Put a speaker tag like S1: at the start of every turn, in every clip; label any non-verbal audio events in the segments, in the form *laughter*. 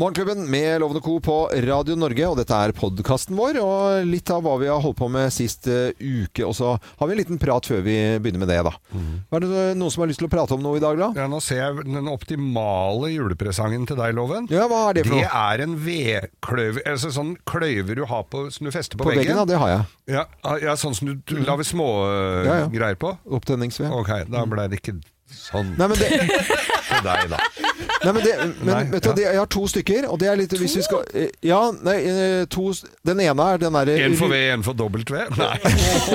S1: Morgenklubben med Lovende Co på Radio Norge, og dette er podkasten vår. Og litt av hva vi har holdt på med sist eh, uke. Og så har vi en liten prat før vi begynner med det, da. Er det noen som har lyst til å prate om noe i dag, da?
S2: Mhm. Ja, nå ser jeg den optimale julepresangen til deg, Loven.
S1: Ja, hva er det for
S2: Det
S1: noe?
S2: er en vedkløver, altså sånn kløver du har på, som du fester på,
S1: På veggen, ja. Det har jeg. Mm.
S2: Ja, ja, sånn som du, du lager små øh,
S1: Ja, ja.
S2: greier på.
S1: Opptenningsved. Mm.
S2: Ok, da ble det ikke sånn
S1: Nei, men
S2: *laughs*
S1: det,
S2: til deg, da.
S1: nei, men det, men,
S2: Nei,
S1: vet du, hva,
S2: ja.
S1: det, jeg har to stykker, og det er litt Hvis vi skal eh, Ja, nei, eh, to s- Den ene er den eh, derre
S2: En for V, en for dobbelt
S1: *laughs*
S2: V. Nei.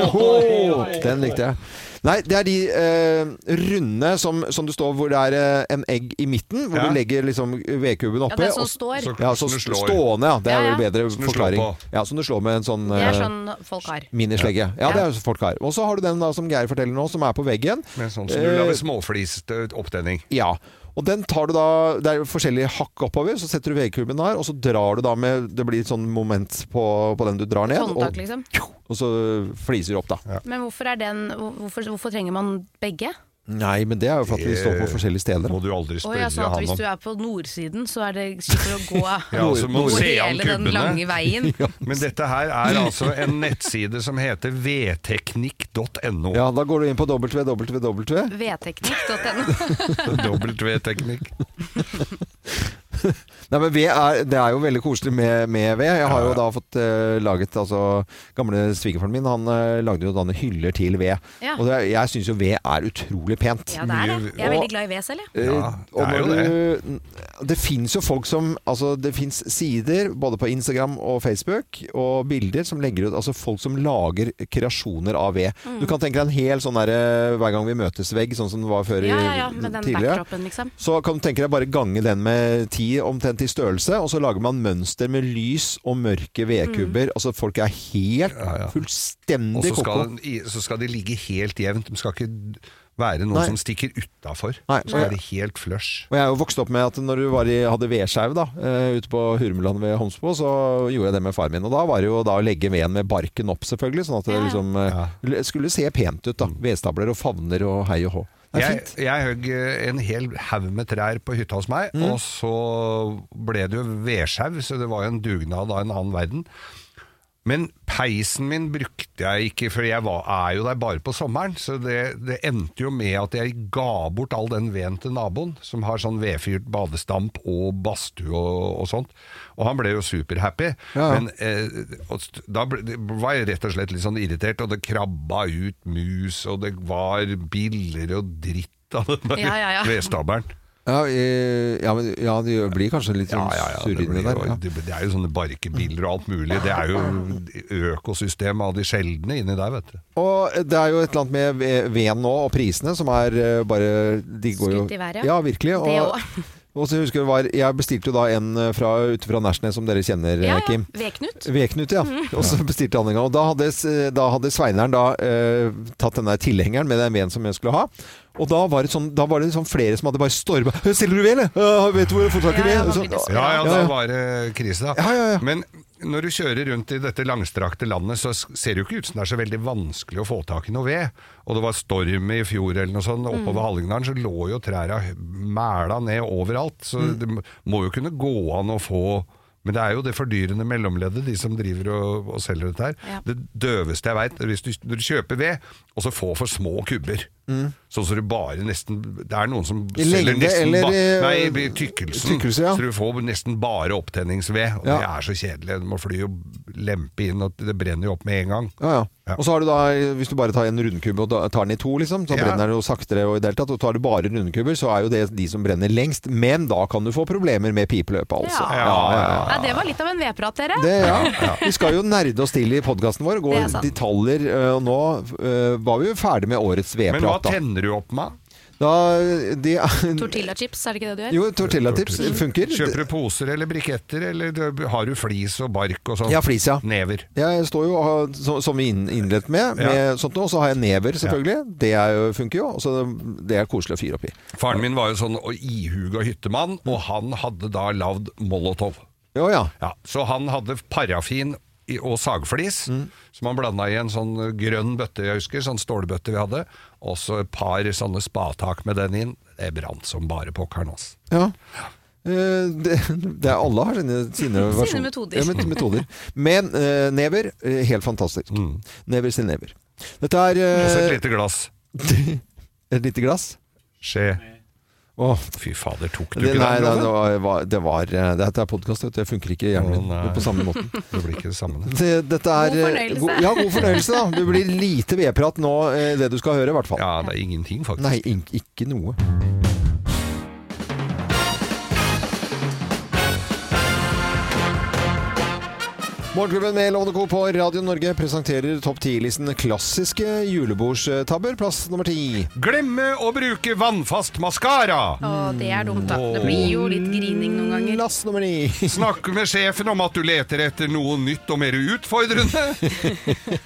S1: Åh, Den likte jeg. Nei, det er de eh, runde som, som du står hvor det er eh, en egg i midten, hvor
S2: Ja.
S1: du legger liksom vedkuben
S3: Ja,
S1: oppi.
S3: det som
S1: og-
S3: står.
S2: Så-
S1: ja, så
S2: Som du slår.
S1: stående, ja. Det er
S3: Ja,
S1: jo
S3: ja.
S1: bedre
S2: Som du slår
S1: forklaring.
S2: på.
S1: Ja, som du slår med en sånn,
S3: Det er
S1: eh,
S3: sånn folk har.
S1: minislegge. Ja, det er jo så folk har. Og så har du den da som Geir forteller nå, som er på veggen.
S2: Men sånn som du
S1: Eh,
S2: lager øh, småflisete opptenning.
S1: Ja. Og den tar du da Det er jo forskjellige hakk oppover, så setter du vedkuben der, og så drar du da med Det blir et sånn moment på, på den du drar ned,
S3: Håndtak,
S1: og,
S3: liksom.
S1: og så fliser du opp, da.
S3: Men hvorfor, er den, hvor- hvorfor, hvorfor trenger man begge?
S1: Nei, men det er jo for at vi står på forskjellige steder.
S2: Må du
S3: Og
S2: aldri
S3: jeg
S2: spørre
S3: sa at
S2: han
S3: hvis
S2: om.
S3: du er på nordsiden, så er det slipper du å gå
S1: *laughs*
S2: Ja, så må
S1: Nord-
S2: du
S3: Hvor
S2: se an
S3: hele den lange
S2: kubbene.
S3: veien.
S1: *laughs*
S2: Men dette her er altså en nettside som heter vedteknikk.no.
S1: Ja, da går du inn på www. *laughs*
S3: Vedteknikk.no.
S2: W-teknikk.
S1: Nei, men ved er, Det er jo veldig koselig med, med ved. Jeg har jo da fått eh, laget altså, Gamle svigerfaren min han eh, lagde jo da hyller til ved.
S3: Ja.
S1: Og det, er- jeg syns jo ved er utrolig pent.
S3: Ja, det er det. Jeg er veldig glad i ved selv, jeg.
S1: Eh,
S2: Ja, det
S1: og
S2: er jo
S1: når du, det fins jo folk som Altså, det fins sider både på Instagram og Facebook og bilder som legger ut Altså folk som lager kreasjoner av ved.
S3: Mm.
S1: Du kan tenke deg en hel sånn derre Hver gang vi møtes-vegg, sånn som det var før i-
S3: Ja, ja, ja, med den
S1: tidligere.
S3: backdropen, liksom.
S1: Så kan du tenke deg bare gange den med ti omtrent i størrelse, og så lager man mønster med lys og mørke
S3: Mm.
S1: vedkubber. Altså folk er helt
S2: ja. Og
S1: fullstendig
S2: så
S1: Mm. koko.
S2: skal, i- så skal de ligge helt jevnt. De skal ikke være noen
S1: Nei.
S2: som stikker utafor.
S1: Nei,
S2: Så
S1: og
S2: er
S1: jeg-
S2: de helt flush.
S1: Og jeg er jo vokst opp med at når du var i, hadde vedskjev da, eh, ute på Hurmeland ved Homsbo, så gjorde jeg det med far min. Og da var det jo da å legge veden med barken opp, selvfølgelig. Sånn at det
S3: Ja, ja.
S1: liksom eh, skulle se pent ut. da. Vedstabler og favner og hei og hå. Det er
S2: Jeg,
S1: fint.
S2: jeg høgg eh, en hel haug med trær på hytta hos meg,
S1: Mm.
S2: og så ble det jo vedsjau, så det var jo en dugnad av en annen verden. Men peisen min brukte jeg ikke, for jeg var, er jo der bare på sommeren. Så det, det endte jo med at jeg ga bort all den veden til naboen, som har sånn vedfyrt badestamp og badstue og, og sånt. Og han ble jo superhappy.
S1: Ja, ja.
S2: Men eh, og st- da ble, det- var jeg rett og slett litt sånn irritert, og det krabba ut mus, og det var biller og dritt av den der
S3: Ja,
S2: *laughs*
S3: ja, ja.
S2: vedstabelen.
S1: Ja, eh, ja, men, ja, det gjør- blir kanskje litt sånn
S2: Ja, ja, ja. Det,
S1: surr inni
S2: blir
S1: der.
S2: jo,
S1: Ja.
S2: det, det er jo sånne barkebiller og alt mulig. Det er jo økosystemet av de sjeldne inni der, vet du.
S1: Og det er jo et eller annet med ve- veden nå, og prisene, som er eh, bare de går jo,
S3: Skutt i været,
S1: Ja,
S3: ja.
S1: virkelig. Og,
S3: Det
S1: *laughs* og så husker jeg, det var, jeg bestilte jo da en eh, fra, ute fra Nesjnes, som dere kjenner,
S3: Ja,
S1: eh,
S3: ja.
S1: Kim.
S3: Vedknut.
S1: Vedknut, ja.
S3: Mhm.
S1: Og så bestilte han en gang. Og da hadde, eh, da hadde Sveineren da eh, tatt denne tilhengeren med den veden som jeg skulle ha. Og da var det, sånn, da var det sånn flere som hadde bare storma 'Selger du ved, eller?' Ja, 'Vet du hvor jeg får tak i
S3: Ja, ja,
S1: ved?'
S3: man
S1: Så-
S3: blir desperat.
S2: Ja, ja,
S1: Ja, ja.
S2: da var det krise, da.
S1: Ja, ja, ja.
S2: Men når du kjører rundt i dette langstrakte landet, så s- ser det jo ikke ut som det er så veldig vanskelig å få tak i noe ved. Og det var storm i fjor eller noe sånt, oppover
S1: Mm.
S2: Hallingdalen, så lå jo trærne mæla ned overalt. Så
S1: Mm.
S2: det m- må jo kunne gå an å få men det er jo det fordyrende mellomleddet, de som driver og, og selger dette her.
S3: Ja.
S2: Det døveste jeg veit, hvis du, når du kjøper ved, og så får for små kubber. Sånn som du bare nesten Det er noen som
S1: Mm. I
S2: selger
S1: lengde
S2: nesten
S1: eller
S2: ba-
S1: i-
S2: Nei, i tykkelsen.
S1: Tykkelse, Eh, ja.
S2: Så du får nesten bare opptenningsved, og
S1: Ja.
S2: det er så kjedelig. Du må fly og lempe inn, og det brenner jo opp med en gang.
S1: Ja, ja.
S2: Ja.
S1: Og så har du da, hvis du bare tar en rundkubbe og da- tar den i to, liksom, så
S2: Ja.
S1: brenner den jo saktere og i det hele tatt. Og tar du bare rundkubber, så er jo det de som brenner lengst. Men da kan du få problemer med pipeløpet, altså.
S3: Ja.
S1: ja,
S3: Ja, det var litt av en vedprat, dere.
S1: Det, ja. Vi skal jo nerde oss til i podkasten vår, gå
S3: Det er
S1: i
S3: sant.
S1: detaljer. øh, Og nå øh, var vi jo ferdig med årets
S2: Men hva
S1: vedprat, da.
S2: tenner du opp med?
S1: da de,
S3: Tortillachips, er det ikke det du gjør?
S1: jo, tortillatips funker.
S2: Kjøper du poser eller briketter, eller du- har du flis og bark og sånn?
S1: Ja, flis, ja.
S2: Never.
S1: Jeg står jo, og har- som- som vi inn- innledet med, med sånt nå, og så har jeg never, selvfølgelig. Det er, jo- funker jo. og så det er koselig å fyre opp i.
S2: Faren min var jo sånn og ihuga hyttemann, og han hadde da lagd molotov.
S1: Ja, ja.
S2: Ja, så han hadde parafin i- og sagflis,
S1: Mm.
S2: som han blanda i en sånn grønn bøtte, jeg husker, sånn stålbøtte vi hadde, og så et par sånne spatak med den inn. Det brant som bare pokkeren, altså.
S1: Ja. Eh, Det, det er alle har sine, sine, versjoner.
S3: metoder.
S1: Ja, men, metoder. Men eh, never, eh, helt fantastisk. Never sin never. Dette er
S2: Mm. Så et
S1: eh,
S2: lite glass.
S1: Et lite *laughs* glass?
S2: Skje.
S1: Åh,
S2: Fy fader, tok du
S1: det,
S2: ikke
S1: nei, nei,
S2: den?
S1: det
S2: Loven?
S1: var, var- det var eh, Dette er podkast, vet du. Det funker ikke i hjernen
S2: Å,
S1: min
S2: nei.
S1: på samme måten.
S2: *laughs* Det blir ikke det samme. det.
S1: Det, dette er,
S3: God
S1: eh,
S3: fornøyelse.
S1: go- ja, god fornøyelse, da. Det blir lite vedprat nå, eh, det du skal høre, i hvert fall.
S2: Ja, det er ingenting, faktisk.
S1: Nei, in ikke noe. Morgenklubben med Lovende Co. på Radio Norge presenterer topp 10-listen klassiske julebordstabber. Plass nummer ti.
S2: Glemme å bruke vannfast maskara!
S3: Å, det er dumt, da. Det blir jo litt grining noen ganger.
S1: Plass Mm. nummer ni.
S2: Snakke med sjefen om at du leter etter noe nytt og mer utfordrende.
S1: *laughs*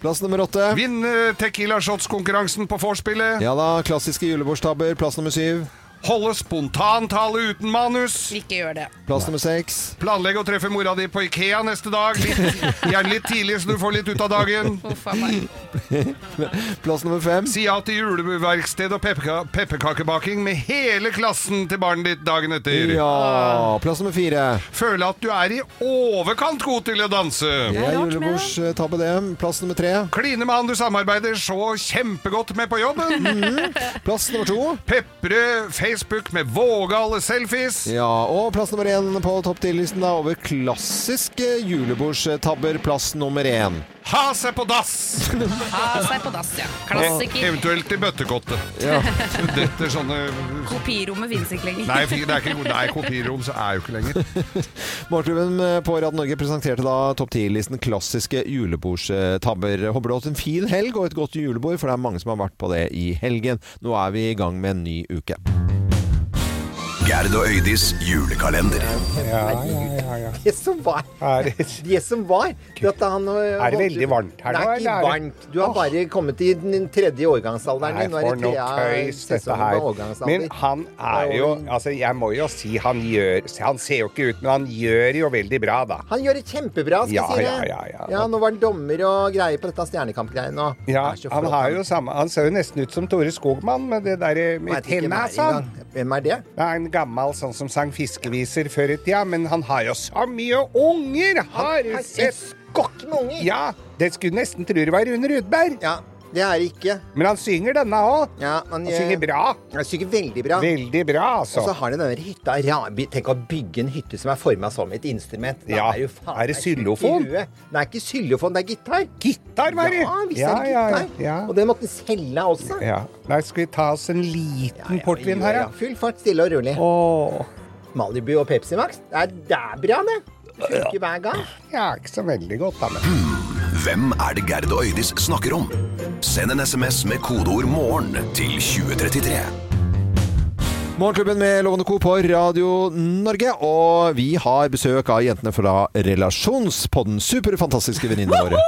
S1: Plass nummer åtte.
S2: Vinne Tequila Shots-konkurransen på vorspielet.
S1: Ja da, klassiske julebordstabber. Plass nummer syv.
S2: Holde spontantale uten manus.
S3: Ikke gjør det.
S1: Plass nummer seks.
S2: Planlegge å treffe mora di på Ikea neste
S1: *laughs*
S2: dag. Litt, gjerne litt tidlig, så du får litt ut av dagen.
S3: Uff a meg.
S1: Plass nummer fem.
S2: Si ja til juleverksted og pepperka pepperkakebaking med hele klassen til barnet ditt dagen etter.
S1: Ja. Plass nummer fire.
S2: Føle at du er i overkant god til å danse.
S1: Det er julebordstabbe, det. Plass nummer tre.
S2: Kline med han du samarbeider så kjempegodt med
S4: *laughs*
S2: på jobben.
S4: Mm.
S1: Plass nummer to.
S2: Pepre Facebook med vågale selfies.
S1: Ja, og plass nummer én på topp 10-listen da over klassiske julebordstabber. Plass nummer én.
S2: Ha seg på dass!
S3: Ha seg på dass, ja.
S2: Og
S3: Klassiker.
S2: eventuelt i bøttekottet.
S1: Ja.
S2: Detter sånne
S3: Kopirommet fins ikke lenger.
S2: Nei, fy- det er ikke nei, kopirom, så er jo ikke lenger.
S1: Morgenklubben eh, på Radio Norge presenterte da topp 10-listen klassiske julebordstabber. Håper du har hatt en fin helg og et godt julebord, for det er mange som har vært på det i helgen. Nå er vi i gang med en ny uke.
S5: Gerd og Øydis julekalender.
S6: Det som var.
S4: Er,
S6: Det som var. det at han,
S4: Er det veldig varmt her
S6: det
S4: nå,
S6: er ikke
S4: eller er det-
S6: varmt. Du har bare kommet i den tredje årgangsalderen
S4: Nei,
S6: din. Nå er
S4: for
S6: det
S4: noe
S6: tredje
S4: tøys, dette
S6: sesongen med
S4: her.
S6: årgangsalder.
S4: Men han er jo Altså, jeg må jo si han gjør Han ser jo ikke ut, men han gjør jo veldig bra, da.
S6: Han gjør det kjempebra, skal
S4: Ja,
S6: jeg si det.
S4: ja, ja, ja.
S6: Nå var han dommer og greier på dette Stjernekamp-greiene. og
S4: Ja,
S6: er så
S4: han
S6: flott,
S4: har jo samme Han ser jo nesten ut som Tore Skogmann med det eh, derre med
S6: Vet ikke
S4: tenna
S6: meg
S4: sånn.
S6: engang. Hvem er det?
S4: Det er en gammel sånn som sang fiskeviser før i tida, men han har jo så mye unger! Har du
S6: Han er en
S4: sett?
S6: skokk med unger!
S4: Ja, det skulle nesten tro det var Rune Rudberg.
S6: Ja, Det er det ikke.
S4: Men han synger denne òg.
S6: Ja, han,
S4: Han
S6: eh,
S4: synger bra.
S6: Han synger veldig bra.
S4: Veldig bra,
S6: Og så
S4: altså.
S6: har de denne hytta ra- by- Tenk å bygge en hytte som er forma som et instrument. Da
S4: Ja.
S6: jo faen
S4: Er det
S6: meg sjuk i
S4: xylofon?
S6: huet. Det er ikke xylofon, det er gitar.
S4: Gitar,
S6: Ja,
S4: bare.
S6: visst er det gitar.
S4: ja.
S6: Og den måtte den selge også.
S4: Ja. Nei, skal vi ta oss en liten
S6: Ja, ja,
S4: portvin
S6: ja,
S4: her,
S6: ja. Full fart, stille og rolig.
S4: ja?
S6: Malibu og Pepsi Max, det er, det er bra, det. Det Funker hver gang.
S4: Ja, ikke så veldig godt, da, men
S5: Hvem er det Gerd og Øydis snakker om? Send en sms med kodeord 'morgen' til 2033.
S1: Morgenklubben med Lovende Co. på Radio Norge. Og vi har besøk av jentene fra Relasjonspodden. Superfantastiske venninnene våre.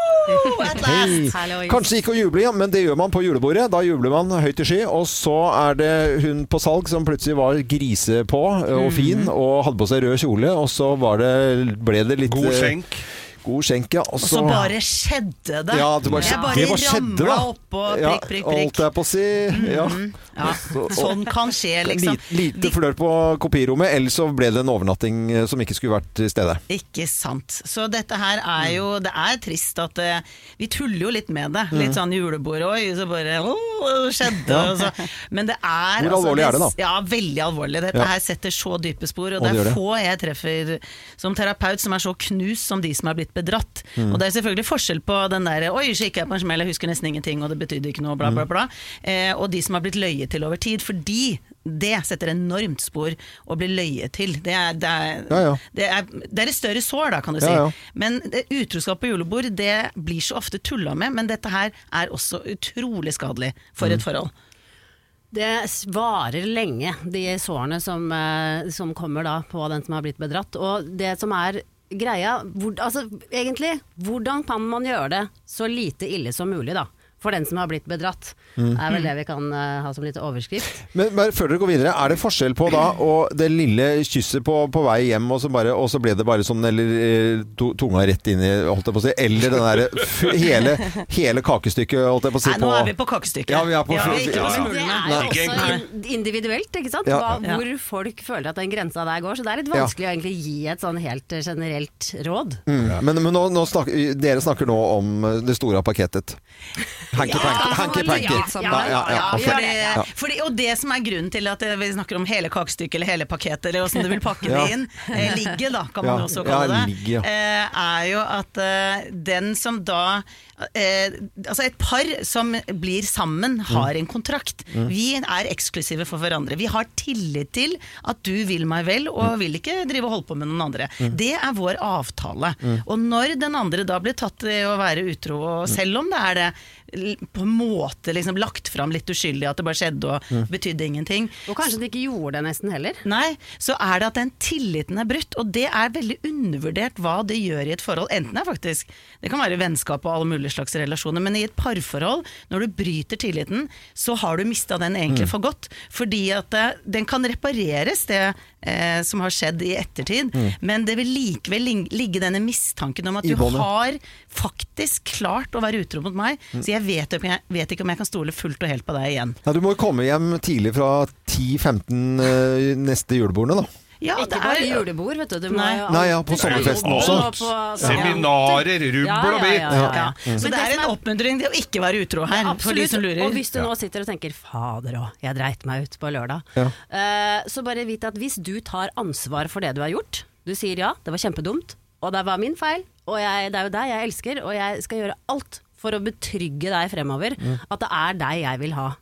S1: Hei.
S3: Hallois.
S1: Kanskje ikke å juble, ja, men det gjør man på julebordet. Da jubler man høyt i sky. Og så er det hun på salg som plutselig var grise på
S7: Mm.
S1: og fin, og hadde på seg rød kjole. Og så var det, ble det litt
S2: God
S1: eh,
S2: skjenk.
S1: God skjenk, ja. Og
S7: Så bare skjedde det.
S1: Ja, det bare,
S7: jeg bare
S1: det bare skjedde,
S7: ramla
S1: da.
S7: oppå
S1: Ja,
S7: prikk, prikk,
S1: Holdt
S7: prikk.
S1: jeg på å si. Ja.
S7: Ja, sånn kan skje, liksom.
S1: Lite, lite flørt på kopirommet, eller så ble det en overnatting eh, som ikke skulle vært til stede.
S7: Ikke sant. Så dette her er jo
S1: Mm.
S7: Det er trist at eh, Vi tuller jo litt med det. Litt sånn julebord òg, så bare «Åh, skjedde og så. Men det er
S1: Hvor alvorlig er det, da?
S7: Ja, veldig alvorlig. Dette
S1: Ja.
S7: her setter så dype spor, og
S1: Og
S7: det
S1: det gjør
S7: er
S1: det.
S7: få jeg treffer som terapeut som er så knust som de som er blitt bedratt.
S1: Mm.
S7: Og det er selvfølgelig forskjell på den der Oi, så gikk jeg på en smell, jeg husker nesten ingenting, og det betydde ikke noe, bla,
S1: Mm.
S7: bla, bla. Eh, og de som har blitt løyet til over tid. Fordi det setter enormt spor å bli løyet til. Det er, det er,
S1: Ja, ja.
S7: det er, det er et større sår, da, kan du si.
S1: Ja, ja.
S7: Men det, utroskap på julebord det blir så ofte tulla med, men dette her er også utrolig skadelig
S1: Mm.
S7: for et forhold.
S8: Det s- varer lenge, de sårene som, eh, som kommer da på den som har blitt bedratt. Og det som er greia, hvor, altså egentlig, hvordan kan man gjøre det så lite ille som mulig da? for den som har blitt bedratt.
S7: Mm.
S8: er vel det vi kan eh, ha som litt overskrift.
S7: *clears throat*
S1: Men bare før dere går videre, er det forskjell på da og det lille kysset på, på vei hjem, og så, bare, og så ble det bare sånn, eller eh, to, tunga rett inn i, holdt jeg på å si, eller den derre f- hele, hele kakestykket, holdt jeg på å si,
S7: Nei, nå er vi på kakestykket.
S1: Ja, vi er på-
S7: ja,
S1: vi-
S7: ikke på
S1: ja, ja.
S8: Men det
S7: smulene.
S1: Nei.
S8: er jo
S2: Ikke
S8: også
S2: egentlig.
S8: in- individuelt, ikke sant.
S1: Ja.
S8: Hva,
S7: Ja.
S8: hvor folk føler at den grensa der går. Så det er litt
S1: Ja.
S8: vanskelig å egentlig gi et sånn helt eh, generelt råd.
S1: Mm. Men, men nå, nå snakker, dere snakker nå om eh, det store av pakettet.
S7: altså,
S1: Hanky-panky.
S3: Ja,
S1: Hanky-panky.
S3: ja,
S1: Nei, ja, ja,
S7: sånn, Ja,
S1: ok.
S7: for det,
S1: Ja.
S7: fordi, og det som er grunnen til at eh, vi snakker om hele kakestykket eller hele pakket, eller åssen du vil pakke det
S1: Ja.
S7: inn, eh, ligge da, kan man
S1: Ja,
S7: jo også
S1: ja,
S7: kalle det,
S1: ligge, ja.
S7: eh, er jo at eh, den som da eh, Altså et par som blir
S1: Mm.
S7: sammen, har en kontrakt. Vi er eksklusive for hverandre. Vi har tillit til at du vil meg vel,
S1: Mm.
S7: og vil ikke drive og holde på med noen andre. Det er vår avtale.
S1: Mm.
S7: Og når den andre da blir tatt i å være utro, og selv om det er det l- på en måte liksom lagt fram litt uskyldig at det bare skjedde og
S1: Mm.
S7: betydde ingenting,
S8: Og kanskje de ikke gjorde det nesten heller.
S7: Nei, så er det at den tilliten er brutt, og det er veldig undervurdert hva det gjør i et forhold. Enten det er faktisk Det kan være vennskap og alle mulige slags relasjoner, men i et parforhold, når du bryter tilliten, så har du mista den egentlig
S1: Mm.
S7: for godt. Fordi at eh, den kan repareres, det eh, som har skjedd i ettertid, men det vil likevel ling- ligge denne mistanken om at
S1: Mm. I
S7: du
S1: båndet.
S7: har faktisk klart å være utro mot meg,
S1: Mm.
S7: så jeg vet, jo ikke- jeg vet ikke om jeg kan stole fullt og helt på deg igjen.
S1: Nei, du må jo komme hjem tidlig fra 10-15 eh, neste julebordene, da.
S7: Ja,
S8: Ikke
S7: det
S8: bare
S7: er-
S8: julebord, vet du. du må
S7: Nei.
S8: jo
S1: Nei, ja,
S8: alltid-
S1: på sommerfesten
S8: Ja,
S1: også.
S8: og på-
S2: Seminarer, rubbel og bit.
S8: Ja, ja, ja,
S1: Mm.
S8: ja.
S7: Ja. Så
S8: Men
S7: det er
S8: som
S7: en oppmuntring til å ikke være utro her, for de
S8: Absolutt.
S7: som
S8: Og
S7: lurer.
S8: hvis du nå sitter og tenker 'fader òg, jeg dreit meg ut på lørdag',
S1: Ja.
S8: eh, så bare vit at hvis du tar ansvar for det du har gjort, du sier ja, det var kjempedumt, og det var min feil, og jeg, det er jo deg jeg elsker, og jeg skal gjøre alt for å betrygge deg fremover,
S1: Mm.
S7: Mm.
S8: at det er deg jeg vil ha.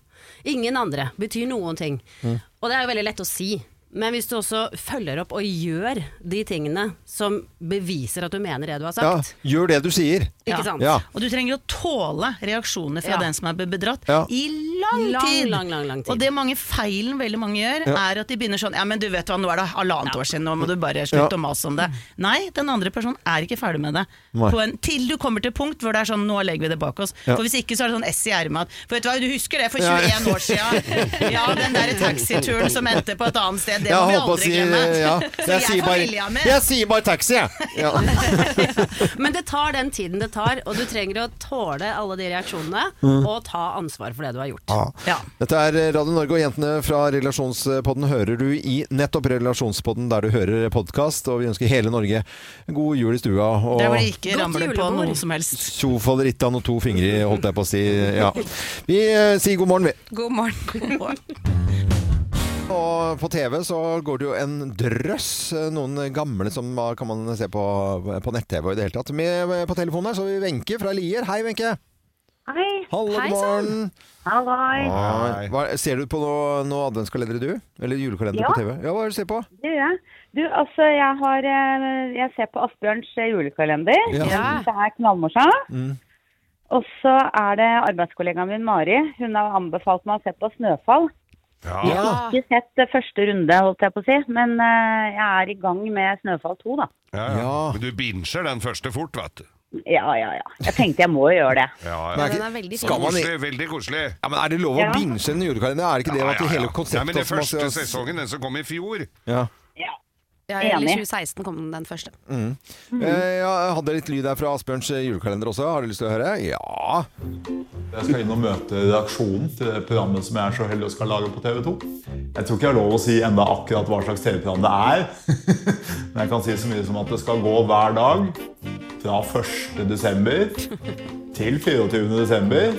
S8: Ingen andre betyr noen ting.
S1: Mm.
S8: Og det er jo veldig lett å si. Men hvis du også følger opp og gjør de tingene som beviser at du mener det du har
S1: Ja,
S8: sagt,
S1: gjør det du sier.
S8: ikke sant?
S1: Ja.
S7: Og du trenger å tåle reaksjoner fra
S8: Ja.
S7: den som er bedratt,
S1: Ja.
S7: i lang
S8: Lang,
S7: tid.
S8: lang, lang, lang tid.
S7: Og det mange feilen veldig mange gjør, er at de begynner sånn Ja, men du vet hva, nå er det halvannet år siden, nå må du bare slutte
S1: Ja.
S7: å mase om det. Nei, den andre personen er ikke ferdig med det.
S1: Nei.
S7: På en, til du kommer til punkt hvor det er sånn Nå legger vi det bak oss.
S1: Ja.
S7: For hvis ikke så er det sånn ess i ermet at For vet du hva, du husker det for
S1: Ja.
S7: 21 år
S1: *laughs*
S7: siden? Ja, den derre taxituren som endte på et annet sted, det
S1: Jeg
S7: må vi
S1: holdt på å
S7: aldri
S1: si eh,
S7: glemme.
S1: ja.
S7: Så
S1: jeg, sier
S7: er
S1: bare,
S7: familia mi.
S1: jeg sier bare taxi, jeg. Ja.
S7: *laughs*
S8: Men det tar den tiden det tar, og du trenger å tåle alle de reaksjonene, og ta ansvar for det du har gjort.
S7: Ja.
S1: Dette er Radio Norge og jentene fra Relasjonspodden hører du i nettopp Relasjonspodden der du hører podkast, og vi ønsker hele Norge god jul i stua. Og
S7: Der hvor det ikke
S8: Godt
S7: ramler på
S8: julebord.
S7: noe som helst.
S1: to fallerittaen og to fingre, holdt jeg på å si. Ja. Vi eh, sier god morgen, vi.
S3: God morgen.
S9: *laughs*
S3: God morgen.
S1: Og på TV så går det jo en drøss, eh, noen gamle som eh, kan man se på, på nett-TV og i det hele tatt. Med eh, på telefonen her så har vi Wenche fra Lier. Hei, Wenche.
S9: Hei.
S1: Hallo,
S8: Hei,
S1: god morgen. Ah.
S9: Halloi.
S1: Hei. Hva, ser du på noe, noe adventskalender, du? Eller julekalender
S9: Ja.
S1: på TV? Ja, hva er det du ser på?
S9: Det gjør jeg. Du, altså, jeg, har, eh, jeg ser på Asbjørns eh, julekalender.
S1: Ja.
S9: Jeg synes Det er knallmorsomt.
S10: Eh,
S9: Og så er det arbeidskollegaen min Mari. Hun har anbefalt meg å se på Snøfall.
S1: Ja.
S9: Ikke sett eh, første runde, holdt jeg på å si, men eh, jeg er i gang med Snøfall 2, da.
S2: Ja,
S1: Ja.
S2: ja. Men du binger den første fort, vet du.
S9: Ja, ja, ja. Jeg tenkte jeg må jo gjøre det.
S2: Ja,
S1: Men
S2: ja.
S1: er ikke-
S8: den er veldig
S1: skal man i-
S2: Koselig, veldig koselig.
S1: ja, men Er det lov å
S9: Ja.
S1: binge en julekalender? Er det ikke det
S2: Ja,
S1: at det
S2: ja,
S1: hele
S2: ja.
S1: konseptet
S2: Nei, men det
S1: også må-
S2: første sesongen, den som kom i fjor.
S1: Ja.
S3: Ja,
S9: Enig.
S3: eller 2016 kom den, den
S11: *laughs*
S3: første.
S1: Eh, Jeg hadde litt lyd her fra Asbjørns eh, julekalender også. Har du lyst til å høre? Ja.
S12: Jeg skal inn og møte redaksjonen til det programmet som jeg er så heldig å skal lage på TV 2. Jeg tror ikke jeg har lov å si enda akkurat hva slags TV-program det er. Men jeg kan si så mye som at det skal gå hver dag fra 1. desember til 24. desember.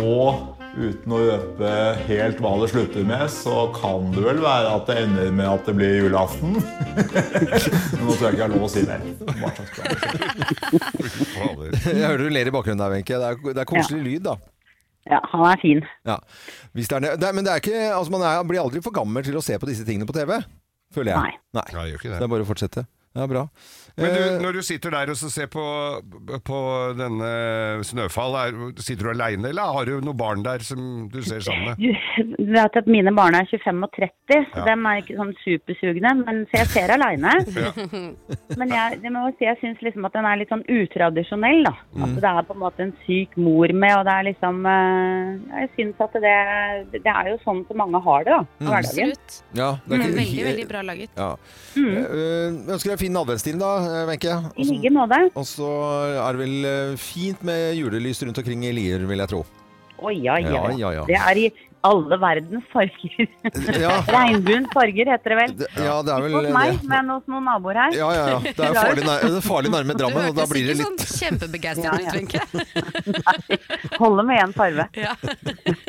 S12: Og uten å røpe helt hva det slutter med, så kan det vel være at det ender med at det blir julaften. *laughs* Men nå tror jeg ikke jeg har lov å si mer. om Hva slags program det er.
S2: Fader.
S1: Jeg hører du ler i bakgrunnen der, Wenche. Det, er- det er koselig lyd, da.
S9: Ja, han er fin.
S1: Ja. Hvis det er, ne- det er, men det er ikke, altså man er, blir aldri for gammel til å se på disse tingene på TV, føler jeg.
S9: Nei.
S1: Nei.
S2: Nei, jeg gjør ikke
S1: Det
S2: det.
S1: er bare å fortsette. Det er bra.
S2: Men
S1: Eh,
S2: du, når du sitter der og så ser på, på denne Snøfall, er, sitter du aleine, eller har du noen barn der som du ser sammen med?
S9: Du vet at mine barn er 25 og 30, så
S2: Ja.
S9: dem er ikke sånn supersugne. Men, så jeg ser aleine.
S2: Ja.
S9: *laughs* Men jeg, det må jeg si, jeg syns liksom at den er litt sånn utradisjonell, da. At
S11: Mm.
S9: det er på en måte en syk mor med, og det er liksom eh, Jeg syns at det Det er jo sånn som mange har det, da. i
S1: Mm.
S9: Hverdagen.
S1: Ja, det er ikke-
S9: Mm, Veldig, veldig bra laget.
S1: Ja. Eh, eh, ønsker deg fin adventstid, da, eh, Wenche.
S9: Mm. I like måte.
S1: Og så er det vel eh, fint med julelys rundt omkring i Lier, vil jeg tro.
S9: Å ja, ja,
S1: Ja,
S9: ja,
S1: ja, ja.
S9: Det er i alle verdens farger. *laughs*
S1: Ja.
S9: Regnbuens farger heter det vel.
S1: Ja, det er vel
S9: Ikke hos
S1: Eh, det.
S9: meg, men hos noen naboer her.
S1: Ja, ja,
S9: *laughs*
S1: ja. Det er farlig, nær, det er farlig nærme Drammen, og da blir det litt
S11: sånn
S9: Ja,
S8: kjempebegeistret
S9: ja.
S8: ut, Wenche.
S9: Holder med én farve.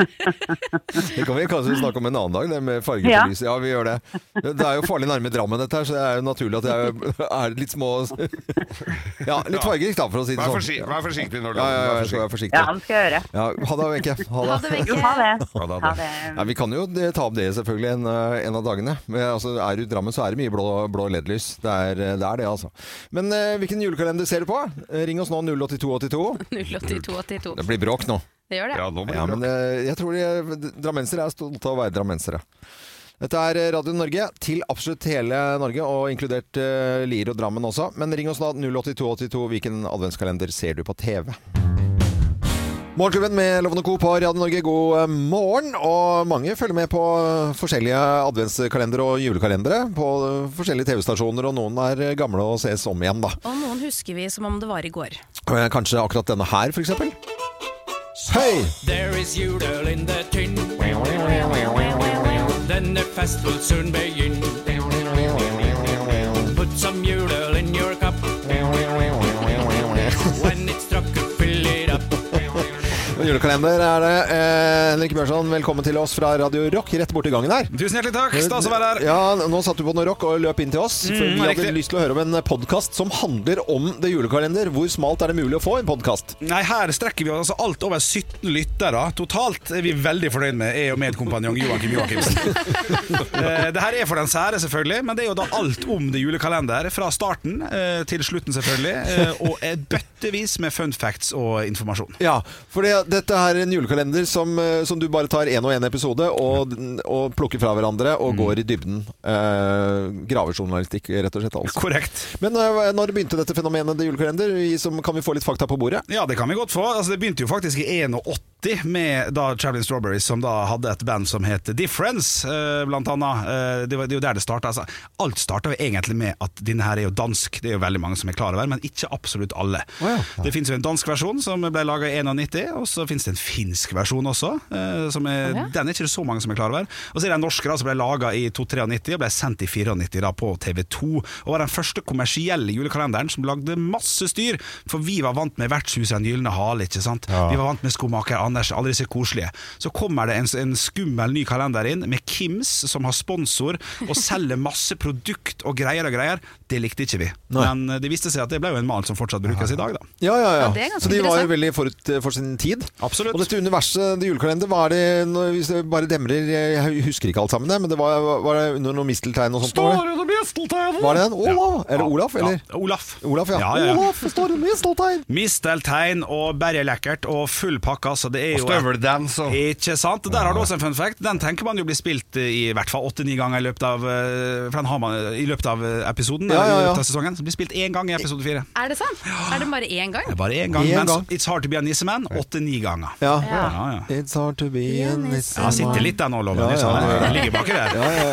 S1: Det kan vi kanskje snakke om en annen dag, det med farger
S9: Ja.
S1: på lyset. Ja, vi gjør det. Det er jo farlig nærme Drammen, dette her, så det er jo naturlig at jeg er litt små Ja, litt fargerikt, da, for å si det
S2: Vær
S1: sånn.
S2: forsi- vær forsiktig når du-
S1: Ja, ja, ja, jeg skal være forsiktig.
S9: Ja, det skal jeg gjøre.
S1: Ja, ha det, Wenche.
S9: Ha det, Wenche. Jo, ha det.
S1: Ha det,
S9: Ha
S1: ha
S9: det.
S1: det. Ja, vi kan jo det- ta opp det selvfølgelig en, eh, en av dagene. Men, altså, er du i Drammen, så er det mye blå, blå LED-lys. Det, er, eh, det er det, altså. Men eh, hvilken julekalender ser du på? Eh, Ring oss nå 08282.
S8: 08282.
S1: Det blir bråk nå.
S8: Det gjør det. Ja, nå blir det
S1: Ja, men eh, jeg tror de, drammensere er stolte av å være drammensere. Dette er eh, Radio Norge til absolutt hele Norge, og inkludert eh, Lier og Drammen også. Men ring oss da 08282. Hvilken adventskalender ser du på TV? Morgenklubben med Lovende Co. på Radio Norge, god eh, morgen. Og mange følger med på eh, forskjellige adventskalendere og julekalendere på eh, forskjellige TV-stasjoner, og noen er eh, gamle og ses om igjen, da.
S11: Og noen husker vi som om det var i går.
S1: Eh, Kanskje akkurat denne her, for eksempel. Hei!
S13: There is juleøl in the tin. Denne fest will soon begin. Put some juleøl in your cup. When it's struck, fill it up.
S1: Og Julekalender er det. Eh, Henrik Bjørnson, velkommen til oss fra Radio Rock, rett borti gangen her.
S14: Tusen hjertelig takk, stas å være her.
S1: Ja, Nå satt du på noe rock og løp inn til oss. for
S14: Mm,
S1: vi hadde
S14: riktig.
S1: lyst til å høre om en podkast som handler om det julekalender. Hvor smalt er det mulig å få en podkast?
S14: Nei, her strekker vi oss altså alt over 17 lyttere. Totalt er vi veldig fornøyd med jeg og medkompanjong Joakim Joakimsen. Eh, det her er for den sære, selvfølgelig, men det er jo da alt om det julekalender. Fra starten eh, til slutten, selvfølgelig. eh, Og et bøttevis med fun facts og informasjon.
S1: Ja, for det, dette her er en julekalender som, eh, som du bare tar én og én episode og, og plukker fra hverandre og går i dybden. Eh, gravejournalistikk, rett og slett. Altså.
S14: Korrekt.
S1: Men eh, når begynte dette fenomenet, det julekalender? Vi som- Kan vi få litt fakta på bordet?
S14: Ja, det kan vi godt få. Altså, det begynte jo faktisk i 81 med da Traveling Strawberries, som da hadde et band som het Difference, eh, blant annet. Eh, det, var, det er jo der det starta. Altså, alt starta jo egentlig med at denne her er jo dansk, det er jo veldig mange som er klar over, men ikke absolutt alle. Det fins jo en dansk versjon som ble laga i 91, og så fins det en finsk versjon også. eh, som er,
S15: Å, ja.
S14: Den er ikke så mange som er klar over. Og så er det en norsk da, som ble laga i 293 og ble sendt i 94 da, på TV2. Og var den første kommersielle julekalenderen som lagde masse styr, for vi var vant med Vertshuset og Den gylne hale, ikke sant. Vi var vant med Skomaker Anders, alle disse koselige. Så kommer det en, en skummel ny kalender inn med Kims som har sponsor og selger masse produkt og greier og greier. Det likte ikke vi. Men eh, det viste seg at det ble jo en mal som fortsatt brukes i dag, da.
S1: Ja, ja, ja.
S14: Ja, det er ganske
S1: så de var jo
S14: interessant.
S1: veldig forut eh, for sin tid. Absolutt. Og dette universet, det julekalender, hva er det når, Hvis det bare demrer eh, Jeg husker ikke alt sammen, jeg, men det var, var det under noe misteltegn og sånt? var det?
S14: under mistelteinen!
S1: Var det en Olav? Eller Olaf, eller?
S14: Ja, Olaf.
S1: Olaf, ja.
S14: Ja, ja, ja.
S1: Olaf står under misteltein!
S14: Misteltein og bare lekkert og full pakke. Altså, det er
S2: Og
S14: jo
S2: støveldans og-
S14: Ikke sant? Der har du også en fun fact. Den tenker man jo blir spilt i i hvert fall åtte-ni ganger i løpet av, eh, for den har man i løpet av eh, episoden.
S1: Ja, ja,
S14: eller I
S1: ja.
S14: løpet av sesongen Så blir spilt én gang i episode fire.
S11: Er det sant? Er det bare én gang?
S14: Det er Bare én gang.
S1: Én
S14: mens
S1: gang.
S14: It's Hard To Be a Nisseman åtte-ni ganger.
S1: Ja.
S14: Ja, ja.
S1: It's hard to be a nissen.
S14: Ja, sitter litt der nå, Loven.
S1: Ja,
S14: Jeg
S1: ja,
S14: skjønner. Jeg
S1: ja.
S14: ligger baki der.
S1: Ja, ja,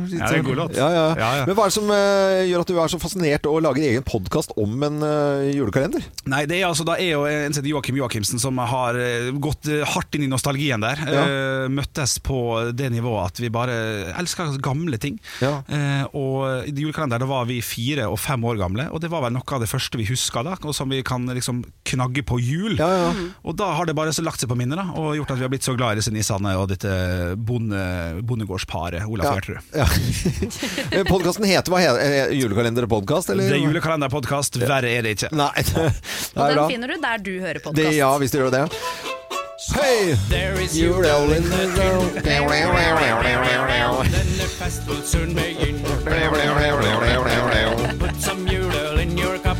S14: *laughs*
S1: ja.
S14: Ja, det er en god låt.
S1: Ja, ja.
S14: Ja, ja.
S1: Men hva er det som eh, gjør at du er så fascinert og lager egen podkast om en eh, julekalender?
S14: Nei, det er altså da jeg og en som heter Joakim Joakimsen som har eh, gått eh, hardt inn i nostalgien der. Eh, møttes på det nivået at vi bare elsker gamle ting. Eh, og i julekalenderen da var vi fire og fem år gamle, og det var vel noe av det første vi huska da, og som vi kan liksom knagge på jul. Og da har det bare så lagt seg på minnet, da, og gjort at vi har blitt så glad i disse nissene og dette bonde, bondegårdsparet Olaf
S1: Ja.
S14: og Gjertrud.
S1: Podkasten Eh, heter hva? he- he- Julekalenderpodkast, eller?
S14: Det er julekalenderpodkast, verre er det ikke.
S1: Nei. *laughs* Det
S11: Og
S1: er
S11: den
S1: bra.
S11: finner du der du hører
S1: Det,
S11: podkast.
S1: ja, hvis du gjør det. Hei!
S13: There is
S1: Jul er all in the road.
S13: Denne fest will soon
S1: *laughs*
S13: begin. Put some jule in your cup.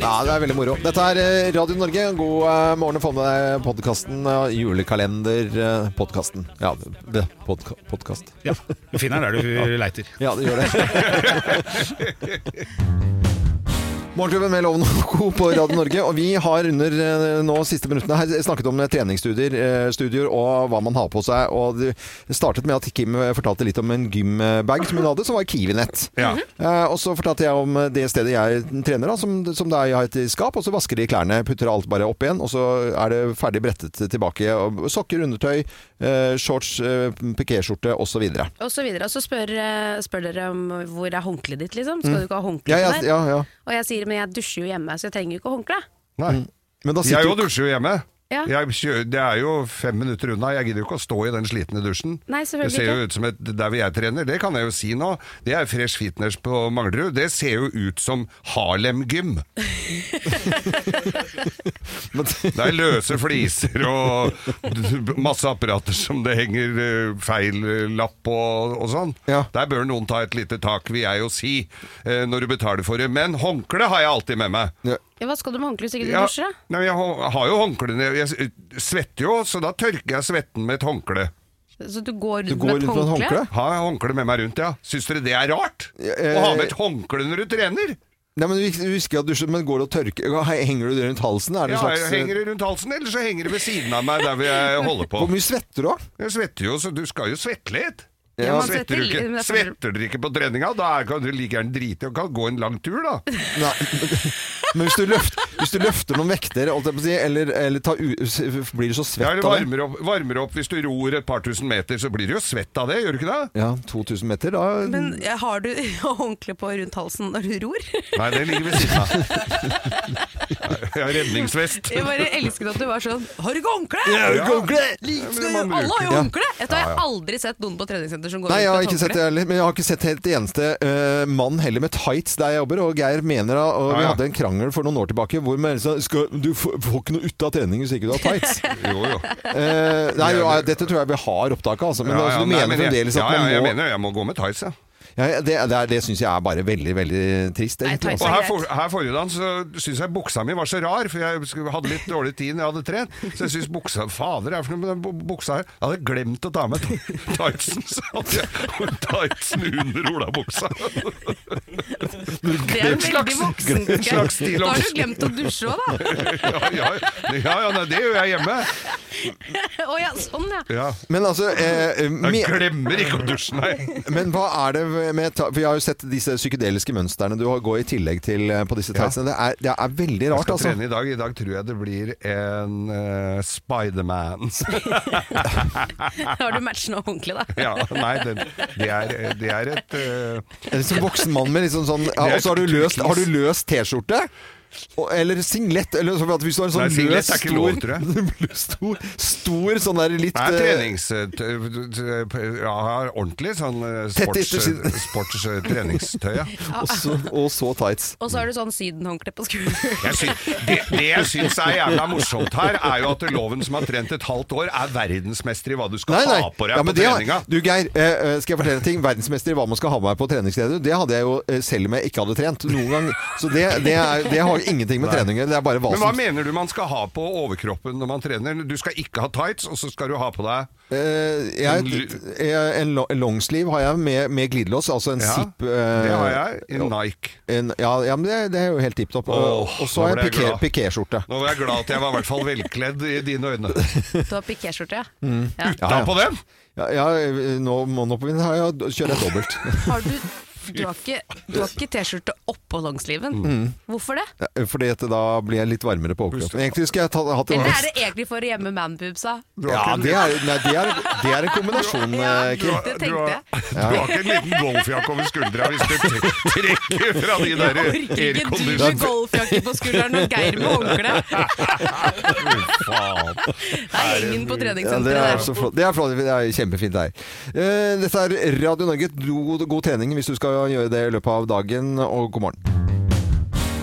S1: Ja, det er veldig moro. Dette er eh, Radio Norge. God eh, morgen og få med deg podkasten. Julekalender. eh, Podkasten. Ja, det- podka podkast.
S14: Ja, du finner den der du leiter.
S1: *laughs* Ja, du gjør
S14: *laughs*
S1: det. Morgenklubben med Loven og Co. på Radio Norge. Og vi har under eh, nå siste minuttene her snakket om eh, treningsstudier eh, studier og hva man har på seg. Og det startet med at Kim eh, fortalte litt om en gymbag som hun hadde, som var Kiwi-nett. Eh, Og så fortalte jeg om eh, det stedet jeg trener, da, som, som det er jeg har et skap. Og så vasker de klærne, putter alt bare opp igjen, og så er det ferdig brettet tilbake. Og sokker, undertøy, eh, shorts, eh, pikéskjorte osv.
S11: Og så videre. Og så spør, eh, spør dere om hvor er håndkleet ditt, liksom. Skal du ikke ha håndkle
S1: Mm. ja, ja,
S11: på deg?
S1: ja, ja.
S11: Og jeg sier men jeg dusjer jo hjemme, så jeg trenger jo ikke håndkle.
S1: Nei. Mm. Men da
S2: jeg
S1: sitter
S2: jo dusjer jo hjemme.
S11: Ja.
S2: Jeg kjø- det er jo fem minutter unna. Jeg gidder jo ikke å stå i den slitne dusjen.
S11: Nei, selvfølgelig
S2: det ser jo
S11: ikke.
S2: ut som et, Der hvor jeg trener, det kan jeg jo si nå, det er Fresh Fitness på Manglerud. Det ser jo ut som Harlem Gym.
S1: *laughs*
S2: det er løse fliser og d- masse apparater som det henger eh, feil eh, lapp på og, og sånn. Der bør noen ta et lite tak, vil jeg jo si, eh, når du betaler for det. Men håndkle har jeg alltid med meg.
S11: Ja, hva skal du med håndkle hvis ikke du
S2: Ja,
S11: dusjer, da?
S2: Nei, jeg har- har jo håndkle ned. Jeg s- eh, svetter jo, så da tørker jeg svetten med et håndkle.
S11: Så du går rundt med et håndkle?
S2: Har jeg håndkle med meg rundt, ja. Syns dere det er rart?
S1: eh,
S2: Å ha med et håndkle når du trener?
S1: Nei, men du husker at du men går det og tørker Henger du det rundt halsen? Er det
S2: Ja,
S1: en slags eh,
S2: jeg henger det rundt halsen, eller så henger det ved siden av meg der
S1: *laughs*
S2: hvor jeg holder på.
S1: Hvor mye svetter du, da?
S2: Jeg svetter jo, så du skal jo svette litt.
S1: Ja, man
S2: svetter,
S1: svetter
S2: du
S1: litt, men
S2: ikke,
S1: det er for-
S2: svetter dere ikke på treninga, da er- kan dere like gjerne drite i og kan gå en lang tur, da.
S1: *laughs* Nei, men hvis du, løft, hvis du løfter noen vekter, holdt jeg på å si, eller, eller tar u, s- blir du så
S2: *laughs* Ja,
S1: svett av
S2: eller
S1: det?
S2: varmer opp, varmer opp hvis du ror et par tusen meter, så blir du jo svett av det, gjør du ikke det?
S1: Ja, 2000 meter, da
S11: Men eh, har du *laughs* håndkle på rundt halsen når du ror?
S2: Nei, det ligger ved siden av. Jeg har redningsvest.
S11: Jeg bare elsket at du var sånn Har du ikke håndkle?
S2: Ja, har du ikke håndkle?
S11: Lik-
S2: Ja, men
S11: skal-
S2: det må man
S11: Alle har jo
S1: bruke.
S11: håndkle!
S1: Ja.
S11: Jeg tror jeg
S1: Ja,
S11: har
S1: ja.
S11: aldri sett noen på treningssenter som går
S1: Nei, jeg har
S11: rundt
S1: ikke
S11: med
S1: sett det
S11: håndkle.
S1: heller. Men jeg har ikke sett helt eneste eh, mann heller med tights der jeg jobber. Og Geir mener da og Vi
S2: Ja, ja.
S1: hadde en krangel for noen år tilbake hvor man sa skal, du får, får ikke noe ut av trening hvis ikke du har tights.
S2: Jo, jo.
S1: Eh, nei, jo, ja, dette tror jeg vi har opptaket, altså. Men
S2: Ja, ja,
S1: altså, du
S2: nei,
S1: mener
S2: men jeg-
S1: fremdeles at
S2: ja, ja,
S1: man
S2: jeg
S1: må
S2: mener jeg må gå med tights, ja.
S1: Ja, ja, det det, er- det syns jeg er bare veldig, veldig trist. Egentlig, altså.
S2: Og her, for, her forrige dag så syns jeg buksa mi var så rar, for jeg skulle- hadde litt dårlig tid når jeg hadde trent. Så jeg syns buksa Fader, er for noe med den bu- buksa her? Jeg hadde glemt å ta med t- tightsen, så hadde jeg tightsen under olabuksa.
S11: Det er veldig voksen.
S2: En
S11: Geir.
S2: slags stil
S11: Da har du glemt å dusje òg, da.
S2: ja, ja, ja, ja nei, det gjør jeg hjemme.
S11: *laughs* Å ja, sånn ja.
S1: Men altså eh, me-
S2: Jeg glemmer ikke å dusje, nei.
S1: *laughs* Men hva er det med ta- For jeg har jo sett disse psykedeliske mønstrene du har går i tillegg til eh, på disse tightsene. Det, er, det er veldig
S2: Jeg
S1: rart,
S2: skal
S1: altså.
S2: trene i dag. I dag tror jeg det blir en uh, Spiderman. *laughs*
S11: Har du matchende håndkle, da?
S2: ja, nei, den, det, er, det er et eh,
S1: En sånn voksen mann med liksom
S2: *laughs*
S1: sånn ja,
S2: Det er
S1: Og så har du løst,
S2: turkis.
S1: har du løst T-skjorte? Og- Eller singlett? Eller så- hvis du har en sånn
S2: Nei, singlett
S1: løs,
S2: er ikke lov,
S1: stor,
S2: tror
S1: *laughs* stor, stor sånn der litt
S2: Det er
S1: eh,
S2: trenings... t- t- Ja, har ordentlig sånn eh,
S1: Tett
S2: sports,
S1: etter siden.
S2: sports eh, treningstøy. Ja.
S11: Ja.
S1: *laughs* og, så, og så tights.
S11: Og så har du sånn sydenhåndkle på
S2: Jeg
S11: skulderen.
S2: sy- det, det jeg syns er jævla morsomt her, er jo at loven som har trent et halvt år, er verdensmester i hva du skal
S1: Nei, nei.
S2: ha på deg
S1: Ja, men
S2: på
S1: det,
S2: treninga.
S1: har- du Geir, eh, eh, skal jeg fortelle en ting? Verdensmester i hva man skal ha med på treningsstedet, det hadde jeg jo eh, selv om jeg ikke hadde trent noen gang. Så det, det, er, det har jo ingenting med
S2: Nei.
S1: trening å gjøre, det er bare hva
S2: Men hva
S1: som
S2: mener du man skal ha på overkroppen når man trener? Du skal ikke ha tights, og så skal du ha på deg
S1: Eh, jeg, jeg, en lo- en longsleeve har jeg med, med glidelås, altså en
S2: Ja,
S1: zip. eh,
S2: det har jeg, en Nike.
S1: en- ja, ja, men det, det er jo helt tipp topp. Og-
S2: Åh,
S1: og så
S2: nå
S1: har
S2: ble
S1: jeg
S2: jeg
S1: piké-
S2: glad.
S1: pikéskjorte.
S2: Nå var jeg glad at jeg var i hvert fall velkledd i dine øyne.
S11: Du har pikéskjorte, ja.
S1: Mm.
S11: Ja.
S2: Utenpå den?
S1: Ja, ja, eh, nå må nå på min har jeg kjører jeg dobbelt.
S11: Har du, du har ikke, du har ikke T-skjorte oppå longsleeven.
S1: Mm.
S11: Hvorfor det?
S1: *laughs* Ja, Fordi at da blir jeg litt varmere på overkroppen. Egentlig skulle jeg ta, hatt en
S11: Eller er det egentlig for å gjemme manboobsa?
S1: Ja, det er, nei, det, er, det er en
S2: *laughs*
S1: kombinasjon, eh, Kim.
S11: det tenkte jeg.
S2: Du har ikke en liten golfjakke over skuldra hvis du tre-
S1: *laughs*
S2: trekker fra de der
S11: Jeg orker ikke
S2: aircondition-
S11: du med golfjakke på skulderen og Geir med håndkle.
S2: *laughs* Fy faen.
S11: Det er gjengen på
S1: Ja, det,
S11: treningssenteret
S1: er
S11: der.
S1: så flott. det er flott. Det er kjempefint der. Eh, Dette er Radio Norge. God, god trening hvis du skal gjøre det i løpet av dagen, og god morgen.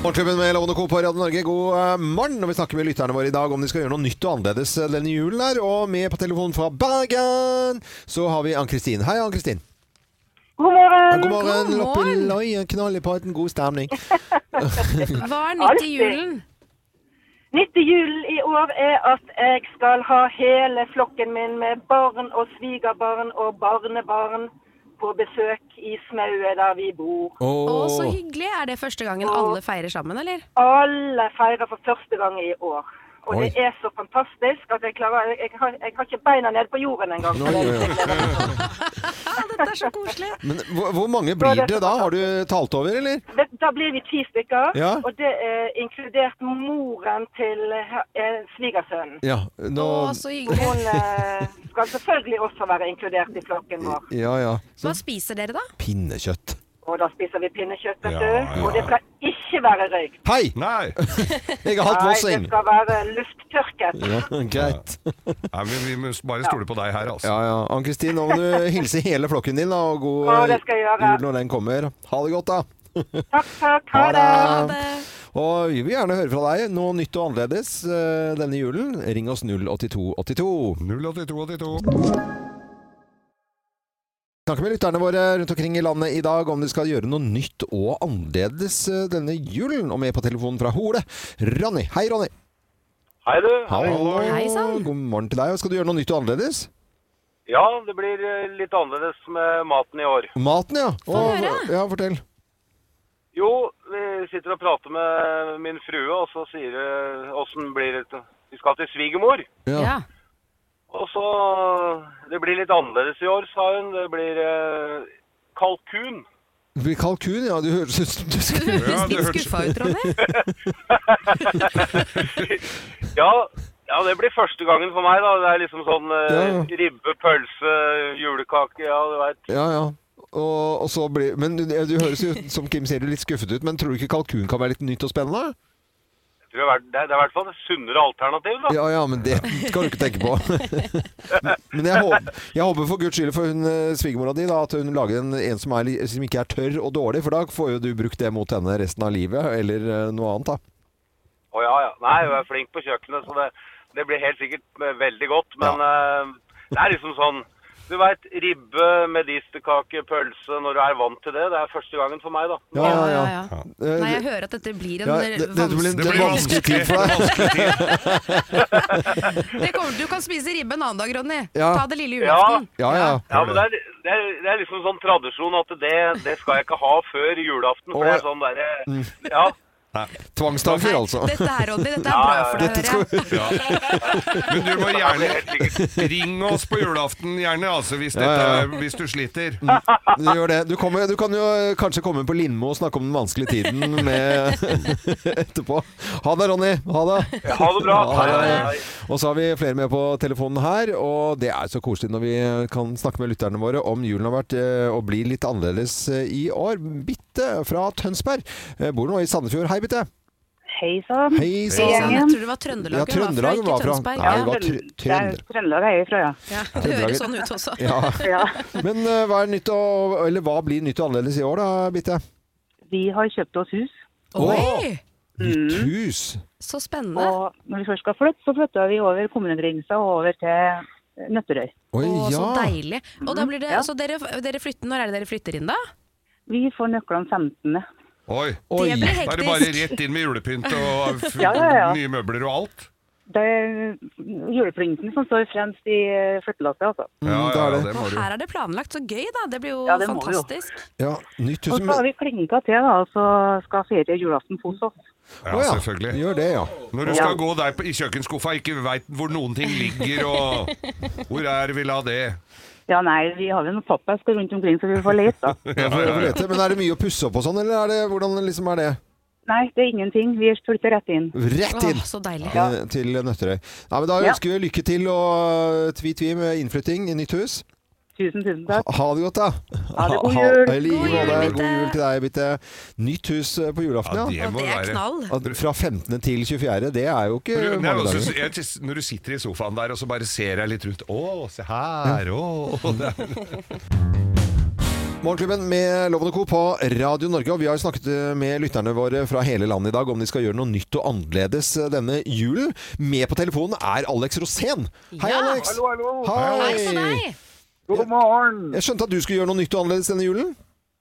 S1: Morgenklubben med Lovende Co. på Radio Norge, god eh, morgen. Og vi snakker med lytterne våre i dag om de skal gjøre noe nytt og annerledes eh, denne julen her. Og med på telefonen fra Bergen så har vi Ann-Kristin. Hei, Ann-Kristin.
S9: God morgen.
S1: God morgen.
S11: God morgen.
S1: Loppeløye, knall i potten, god stemning.
S11: Hva er nytt i
S9: Alltid.
S11: julen?
S9: Nytt i julen i år er at jeg skal ha hele flokken min med barn og svigerbarn og barnebarn på besøk i smauet der vi bor.
S11: Å, så hyggelig. Er det første gangen alle feirer sammen, eller?
S9: Alle feirer for første gang i år. Og
S11: Oi.
S9: det er så fantastisk at jeg klarer jeg, jeg, har, jeg har ikke beina nede på jorden engang.
S1: Oi, oi,
S9: *laughs*
S1: oi.
S9: Dette er så koselig. *laughs*
S1: Men hvor, hvor mange blir det da? Har du talt over, eller?
S9: Da blir vi ti stykker,
S1: Ja.
S9: og det er inkludert moren til eh, svigersønnen.
S1: Ja. Nå
S9: Hun eh, skal selvfølgelig også være inkludert i flokken vår.
S1: Ja, ja. Så
S9: spiser dere da?
S1: pinnekjøtt.
S9: Og da spiser vi pinnekjøtt, vet
S1: Ja,
S9: du.
S1: ja.
S9: Og det skal ikke være røyk.
S1: Hei!
S2: Nei!
S1: Jeg har hatt
S9: Nei,
S1: vossing.
S9: det skal være lufttørket.
S1: Ja, greit.
S2: Nei, men vi må bare stole på deg her, altså.
S1: Ja, ja. Ann-Kristin, nå må
S9: *laughs*
S1: du hilse hele flokken din, da, og god
S9: Ja, det skal jeg gjøre.
S1: jul når den kommer. Ha det godt, da.
S9: Takk, takk.
S1: *laughs*
S9: Ha det.
S1: Og vi vil gjerne høre fra deg noe nytt og annerledes eh, denne julen. Ring oss 08282.
S2: 08282.
S1: Snakker med lytterne våre rundt omkring i landet i dag om de skal gjøre noe nytt og annerledes eh, denne julen. Og med på telefonen fra Hole, Ronny. Hei, Ronny.
S15: Hei, du.
S1: Hallo.
S15: Hei sann.
S1: God morgen til deg. Skal du gjøre noe nytt og annerledes?
S15: Ja, det blir eh, litt annerledes med maten i år.
S1: Maten, ja.
S15: Få
S1: Å,
S15: høre.
S1: ja, fortell.
S15: Jo, vi sitter og prater med min frue, og så sier det åssen blir det Vi skal til svigermor.
S1: Ja.
S15: Og så Det blir litt annerledes i år, sa hun. Det blir eh, kalkun. *laughs*
S1: Det blir kalkun, ja. Du høres ut som du
S15: Ja, du hørtes- Skuffa ut, Ronny. ja, ja, det blir første gangen for meg, da. Det er liksom sånn eh,
S1: Ja,
S15: ribbe, pølse, julekake, ja, du veit.
S1: *laughs* Ja, ja. Og, og så blir, men du, du høres jo, som Kim sier, litt skuffet ut. Men tror du ikke kalkun kan være litt nytt og spennende?
S15: Jeg tror Det er- det er i hvert fall et sunnere alternativ, da.
S1: Ja ja, men det skal du ikke tenke på. *laughs* Men jeg håper, jeg håper for guds skyld for hun eh, svigermora di da, at hun lager en, en som, er, li- som ikke er tørr og dårlig, for da får jo du brukt det mot henne resten av livet, eller eh, noe annet, da.
S15: *laughs* Å ja, ja. Nei, hun er flink på kjøkkenet, så det, det blir helt sikkert eh, veldig godt. Men eh, det er liksom sånn Du veit, ribbe, medisterkake, pølse Når du er vant til det. Det er første gangen for meg, da.
S1: Ja, ja, ja. Eh,
S11: Nei, jeg hører at dette blir en
S1: ja,
S11: eh,
S1: det, det blir en
S11: vanskelig-
S1: vanskelig tid for deg.
S11: *laughs* Det kommer, du kan spise ribbe en annen dag, Ronny.
S1: Ja.
S11: Ta det lille julaften.
S1: Ja, ja.
S15: Ja, men det er, det, er, det er liksom sånn tradisjon at det, det skal jeg ikke ha før julaften. For det er sånn derre
S1: Mm.
S15: Ja.
S1: Tvangstanker, altså.
S11: Dette her, Ronny, dette er
S15: Ja,
S11: bra
S15: ja,
S11: for
S15: ja.
S11: deg å høre.
S2: Ja. Men du må gjerne ringe oss på julaften, gjerne, altså, hvis, dette,
S1: Ja, Mm. ja.
S2: er- hvis du sliter.
S1: Du gjør det. Du, kommer, du kan jo eh, kanskje komme på Lindmo og snakke om den vanskelige tiden med *laughs* etterpå. Ha det, Ronny. Ha det.
S15: Ja, ha det bra. Hei, hei.
S1: Og så har vi flere med på telefonen her, og det er så koselig når vi eh, kan snakke med lytterne våre om julen har vært eh, og blir litt annerledes eh, i år. Bitte fra Tønsberg eh, bor nå i Sandefjord. Hei, Bitte.
S9: Hei sann.
S1: Hei sann.
S11: Jeg tror det var Trøndelag hun
S1: Ja,
S11: var fra,
S1: Trøndelag
S11: ikke
S1: var fra.
S11: Tønsberg.
S1: Nei, det
S11: Ja.
S1: var Trø-
S9: Det er
S1: Trønder.
S9: Trøndelag er jeg fra, ja.
S11: Ja, det høres sånn ut også.
S1: *laughs* Ja. Men eh, hva, er nytt og, eller, hva blir nytt og annerledes i år, da, Bitte?
S9: Vi har kjøpt oss hus.
S1: Oi!
S2: Mm.
S1: Nytt hus.
S11: Så spennende.
S9: Og når vi først skal flytte, så flytter vi over kommunegrensa og over til Nøtterøy.
S1: Oi,
S11: Å, så
S1: ja.
S11: deilig. Og da blir det,
S9: Ja.
S11: så dere, dere flytter, Når er det dere flytter inn, da?
S9: Vi får nøklene 15.
S2: Oi.
S11: Oi. blir
S2: Da er det
S11: hektisk.
S2: bare rett inn med julepynt og f-
S9: Ja, ja, ja.
S2: nye møbler og alt.
S9: Det er juleplinten som står fremst i eh, flyttelasset, altså.
S2: Ja, ja, ja, Mm, det må
S11: Og
S2: du.
S11: her er det planlagt. Så gøy, da. Det blir jo
S9: Ja, det må vi jo.
S11: fantastisk.
S1: Ja, nytt
S9: Og
S1: hus.
S9: så har vi klinka til, da, og så skal ferie julaften hos oss.
S2: Ja,
S1: Å ja,
S2: selvfølgelig.
S1: Gjør det, ja.
S2: Når du skal gå der på, i kjøkkenskuffa, ikke veit hvor noen ting ligger og Hvor er vi la det?
S9: Ja, nei, vi har jo noen pappesker rundt omkring, så vi får lete, da.
S1: Ja, for, for dette. Men er det mye å pusse opp og sånn, eller er det, hvordan liksom er det?
S9: Nei, det er ingenting. Vi flytter rett inn.
S1: Rett inn eh, til Nøtterøy. Nei, men da
S9: Ja.
S1: ønsker vi lykke til og eh, tvi-tvi med innflytting i nytt hus.
S9: Tusen, tusen takk.
S1: Ha, ha det godt, da.
S9: Ha det, god
S1: Ha-
S9: jul.
S1: i like
S9: God jul,
S1: måte.
S9: Bitte.
S1: God jul til deg, Bitte. Nytt hus eh, på julaften,
S2: Ja, det
S1: ja.
S2: må Og det er være. knall.
S1: At Fra 15. til 24. Det er jo ikke
S2: Når, nei,
S1: mange
S2: også,
S1: dager.
S2: jeg, tis- når du sitter i sofaen der og så bare ser jeg litt rundt Å, se her! Å! det er-
S1: Morgenklubben med Loven og Co. på Radio Norge. Og vi har jo snakket eh, med lytterne våre fra hele landet i dag om de skal gjøre noe nytt og annerledes eh, denne julen. Med på telefonen er Alex Rosén. Hei,
S10: Ja.
S1: Alex.
S10: Hallo, hallo.
S1: Hei.
S10: Hei på deg.
S1: God
S10: morgen.
S1: Jeg skjønte at du skulle gjøre noe nytt og annerledes denne julen.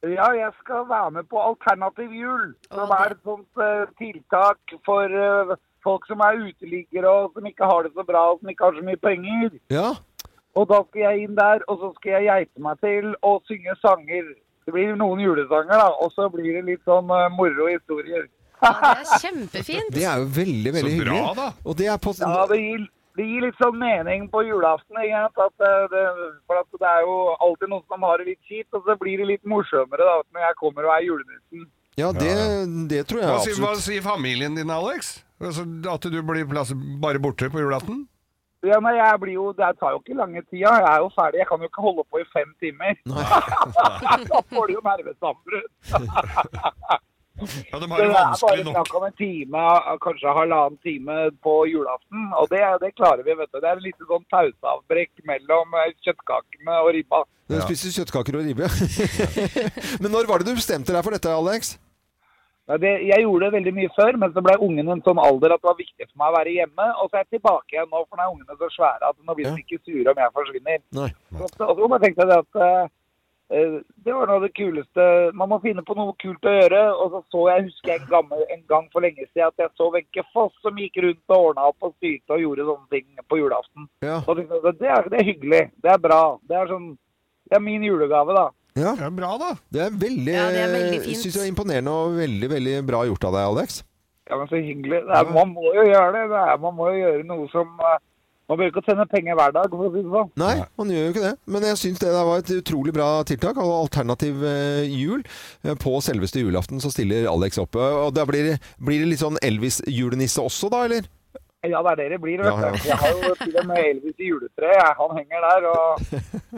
S10: Ja, jeg skal være med på Alternativ jul, som er et sånt eh, tiltak for eh, folk som er uteliggere og som ikke har det så bra og som ikke har så mye penger.
S1: Ja.
S10: Og da skal jeg inn der, og så skal jeg geite meg til og synge sanger. Det blir noen julesanger, da, og så blir det litt sånn eh, moro historier.
S11: Det er kjempefint.
S1: Det er jo veldig, veldig
S10: Så bra,
S1: hyggelig.
S10: da.
S1: Og det er på
S10: Ja, det gir, det gir litt sånn mening på julaften, ikke sant? At eh, det, for at det er jo alltid noen som har det litt kjipt, og så blir det litt morsommere da, når jeg kommer og er julenissen.
S1: *laughs* Ja, det, det tror jeg
S2: Hva sier, hva
S1: absolutt.
S2: sier familien din, Alex? Altså, at du blir plass, bare borte på julaften?
S10: Ja, nei, jeg blir jo, Det tar jo ikke lange tida. Jeg er jo ferdig. Jeg kan jo ikke holde på i fem timer. *laughs* da får du jo nervesambrudd.
S2: Ja, de
S10: Det er bare snakk om en time, kanskje halvannen time på julaften. Og det, det klarer vi, vet du. Det er litt sånn pauseavbrekk mellom eh, kjøttkakene og ribba.
S1: Du spiser kjøttkaker og ribbe. *laughs* Men når var det du bestemte deg for dette, Alex?
S10: Ja, det, jeg gjorde det veldig mye før, men så ble ungen en sånn alder at det var viktig for meg å være hjemme. Og så er jeg tilbake igjen nå, for nå er ungene så svære at nå blir de ikke sure om jeg forsvinner.
S1: Nei.
S10: Så, så så bare tenkte jeg det at eh, eh, det var noe av det kuleste Man må finne på noe kult å gjøre. Og så så jeg, husker jeg en, gammel, en gang for lenge siden at jeg så Wenche Foss som gikk rundt og ordna opp og styrte og gjorde sånne ting på julaften.
S1: Ja.
S10: Og tenkte, jeg, det, er, det er hyggelig. Det er bra. Det er sånn Det er min julegave, da.
S1: Ja.
S2: Det er bra, da.
S1: Det er veldig,
S10: Ja, det er veldig fint.
S1: Synes jeg er imponerende og veldig, veldig bra gjort av deg, Alex.
S10: Ja, men så hyggelig. Det er, man må jo gjøre det. det er, man må jo gjøre noe som eh, Man bør ikke tjene penger hver dag, for å si det sånn.
S1: Nei, man gjør jo ikke det. Men jeg syns det der var et utrolig bra tiltak. Og alternativ eh, jul. Eh, På selveste julaften så stiller Alex opp. Eh, Og da blir det, blir det litt sånn Elvis-julenisse også, da, eller?
S10: Ja, det er det det blir.
S1: Ja,
S10: Vet du.
S1: ja.
S10: Jeg har jo til og med Elvis i juletreet. Jeg- Han henger der.
S1: *laughs*
S10: Og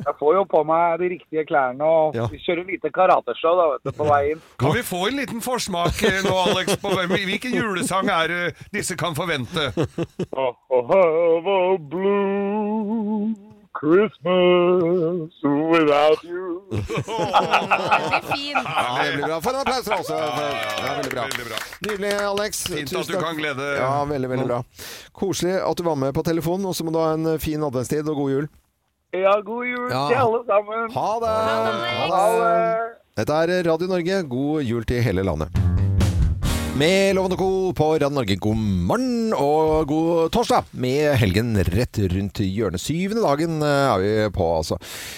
S10: jeg får jo på meg de riktige klærne og
S2: Ja.
S10: vi kjører lite karateshow da, vet du, på veien.
S2: Kan vi få en liten forsmak eh, nå, Alex, på hvem-
S1: *laughs*
S2: hvilken julesang er det disse kan forvente?
S10: Have a blue Christmas without
S16: *laughs*
S10: you.
S1: Ja, det blir bra. Få en applaus fra oss. Ja, veldig bra. Nydelig, Alex.
S2: Fint
S1: Tusen
S2: at du
S1: takk.
S2: kan glede
S1: Ja, veldig, veldig bra. Koselig at du var med på telefonen. Og så må du ha en eh, fin adventstid og god jul.
S10: Ja, god jul
S1: Ja.
S10: til alle sammen.
S1: Ha det! Dette er Radio Norge. God jul til hele landet. Med Loven og Co. på Radio Norge, god morgen og god torsdag! Med helgen rett rundt hjørnet. Syvende dagen eh, er vi på, altså.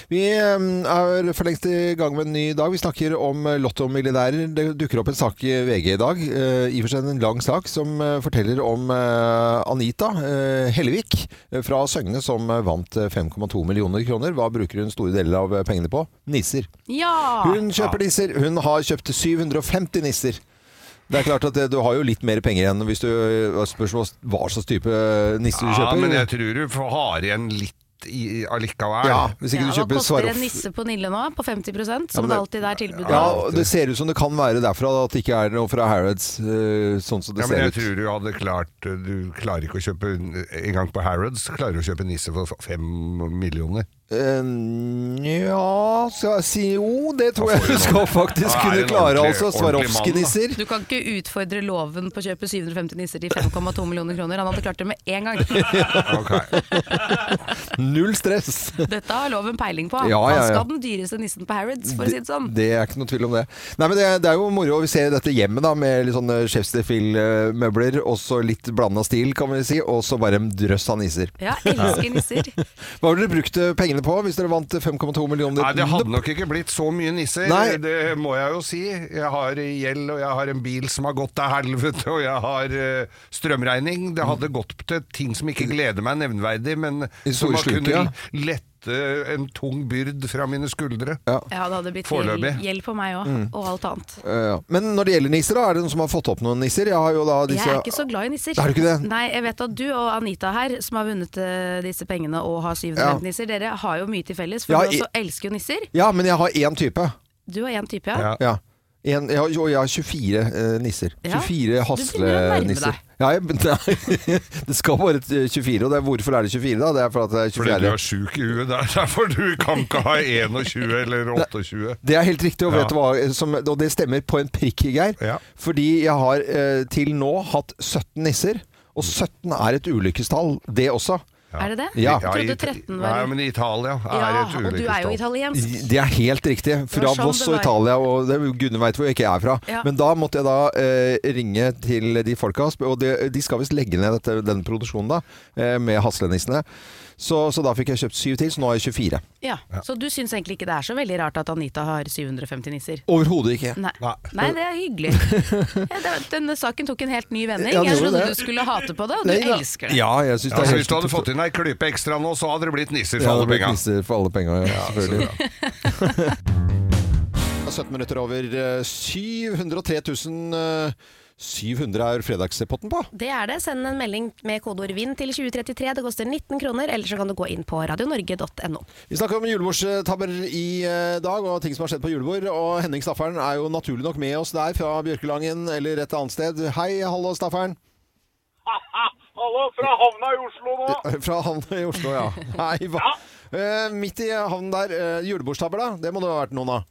S1: Vi eh, er for lengst i gang med en ny dag. Vi snakker om lottomilliardærer. Det dukker opp en sak i VG i dag. eh, I og for seg en lang sak som eh, forteller om eh, Anita eh, Hellevik eh, fra Søgne som eh, vant eh, 5,2 millioner kroner. Hva bruker hun store deler av eh, pengene på? Nisser.
S11: Ja!
S1: Hun kjøper nisser. Hun har kjøpt 750 nisser. Det er klart at eh, Du har jo litt mer penger igjen hvis du eh, spørsmål hva slags type eh, nisser du
S2: Ja,
S1: kjøper.
S2: men jeg tror du får- har igjen litt i, allikevel.
S1: Ja, hvis
S11: Ja,
S1: ikke du
S11: Hva
S1: kjøper
S11: koster en
S1: Swarovski
S11: nisse på Nille nå, på 50 som
S1: Ja, men
S11: det
S1: det-
S11: alltid er tilbud på?
S1: ja, og Det ser ut som det kan være derfra at det ikke er noe fra Harrods. eh, Sånn som det
S2: Ja, men
S1: ser
S2: jeg
S1: ut.
S2: tror du hadde klart Du klarer ikke å kjøpe En gang på Harrods klarer du å kjøpe nisse for fem millioner.
S1: Eh, Nja skal jeg si Jo, det tror jeg du skal faktisk
S2: Ja, er
S1: kunne
S2: det en
S1: klare,
S2: ordentlig-
S1: altså.
S2: ordentlig mann, da?
S1: Swarovski-nisser.
S11: Du kan ikke utfordre loven på å kjøpe 750 nisser til 5,2 millioner kroner. Han hadde klart det med en
S1: *laughs*
S11: gang.
S1: Null stress.
S11: Dette har loven peiling på.
S1: Ja, ja, ja.
S11: Han skal ha den dyreste nissen på Harrods, for å si det sånn.
S1: Det er ikke noe tvil om det. Nei, men det, er- det er jo moro. Vi ser dette hjemmet da, med litt sånne Chefs de Fil-møbler, og så litt blanda stil, kan vi si, og så bare en drøss av nisser.
S11: Ja, elsker nisser.
S1: *laughs* Hva har dere brukt eh, pengene på hvis dere vant eh, 5,2 millioner?
S2: Nei, det hadde nok ikke blitt så mye nisser,
S1: Nei.
S2: det må jeg jo si. Jeg har gjeld, og jeg har en bil som har gått til helvete, og jeg har eh, strømregning. Det hadde gått til ting som ikke gleder meg nevnverdig, men
S1: Mm. I
S2: som
S1: store
S2: har
S1: sluk,
S2: kunnet
S1: ja.
S2: lette en tung byrd fra mine skuldre.
S11: Ja, det hadde blitt
S2: Foreløpig.
S11: gjeld- gjeld på meg òg,
S1: Mm.
S11: og alt annet.
S1: Eh, ja. Men når det gjelder nisser, da, er det noen som har fått opp noen nisser? Jeg har jo da disse
S11: Jeg er ikke så glad i nisser.
S1: Er du ikke det?
S11: Nei, jeg vet at du og Anita her, som har vunnet eh, disse pengene og har 750
S1: Ja.
S11: nisser, dere har jo mye til felles, for
S1: Ja,
S11: du
S1: i-
S11: også elsker jo nisser.
S1: Ja, men jeg har én type.
S11: Du er én type, ja.
S1: Ja. En, jeg, har- jo, jeg har 24 eh, nisser.
S7: Ja,
S1: 24
S7: du begynner å nærme
S1: haslenisser.
S7: deg.
S1: Ja, jeg, nei, *laughs* det skal være 24, og det er, hvorfor er det 24 da? Det er fordi det er 24.
S2: Fordi du er sjuk i huet. Det *laughs* er derfor du kan ikke ha 21 eller 28.
S1: Det er helt riktig, og, vet
S2: Ja.
S1: du hva, eh, som, og det stemmer på en prikk, Geir. Fordi jeg har eh, til nå hatt 17 nisser, og 17 er et ulykkestall, det også.
S11: Er det det?
S1: Ja.
S11: Jeg trodde 13 var
S2: Nei, men Italia er
S11: Ja,
S2: et
S11: og du er jo
S2: ulykkestall.
S11: italiensk.
S1: Det er helt riktig. Fra
S11: Det var sånn
S1: Voss
S11: det
S1: og
S11: var.
S1: Italia, og det, gudene veit hvor jeg ikke er fra.
S11: Ja.
S1: Men da måtte jeg da eh, ringe til de folka, og de, de skal visst legge ned dette, den produksjonen da, eh, med Haslenissene. Så, så da fikk jeg kjøpt syv til, så nå har jeg 24.
S11: Ja. Så du syns egentlig ikke det er så veldig rart at Anita har 750 nisser?
S1: Overhodet ikke.
S11: Nei. Nei, det er
S1: *laughs*
S11: hyggelig. Ja, det- Denne saken tok en helt ny vending.
S2: Ja, det
S11: Jeg
S2: gjorde
S11: trodde
S2: det.
S11: du skulle hate på det, og du
S2: Nei da.
S11: elsker det.
S1: Ja, jeg synes det er
S2: så
S1: helt
S2: Hvis du hadde fått inn ei klype ekstra nå, så hadde det blitt nisser for
S1: Ja, det
S2: alle
S1: blir
S2: penga.
S1: knisser for alle penga, ja, selvfølgelig.
S2: så
S1: *laughs* 17 minutter over eh, 703 000 eh, 700 er fredagspotten på.
S17: Det er det. Send en melding med kodeord VINN til 2033. Det koster 19 kroner, eller så kan du gå inn på radionorge.no.
S1: Vi snakker om julebordstabber i eh, dag, og ting som har skjedd på julebord. Og Henning Staffern er jo naturlig nok med oss der fra Bjørkelangen eller et annet sted. Hei, hallo, Staffern.
S16: Hallo, fra havna i Oslo nå.
S1: Eh, *laughs* Fra havnen i Oslo, ja. Hei, hva? Eh, midt i havnen der. eh, julebordstabber, da? Det må det ha vært noen av?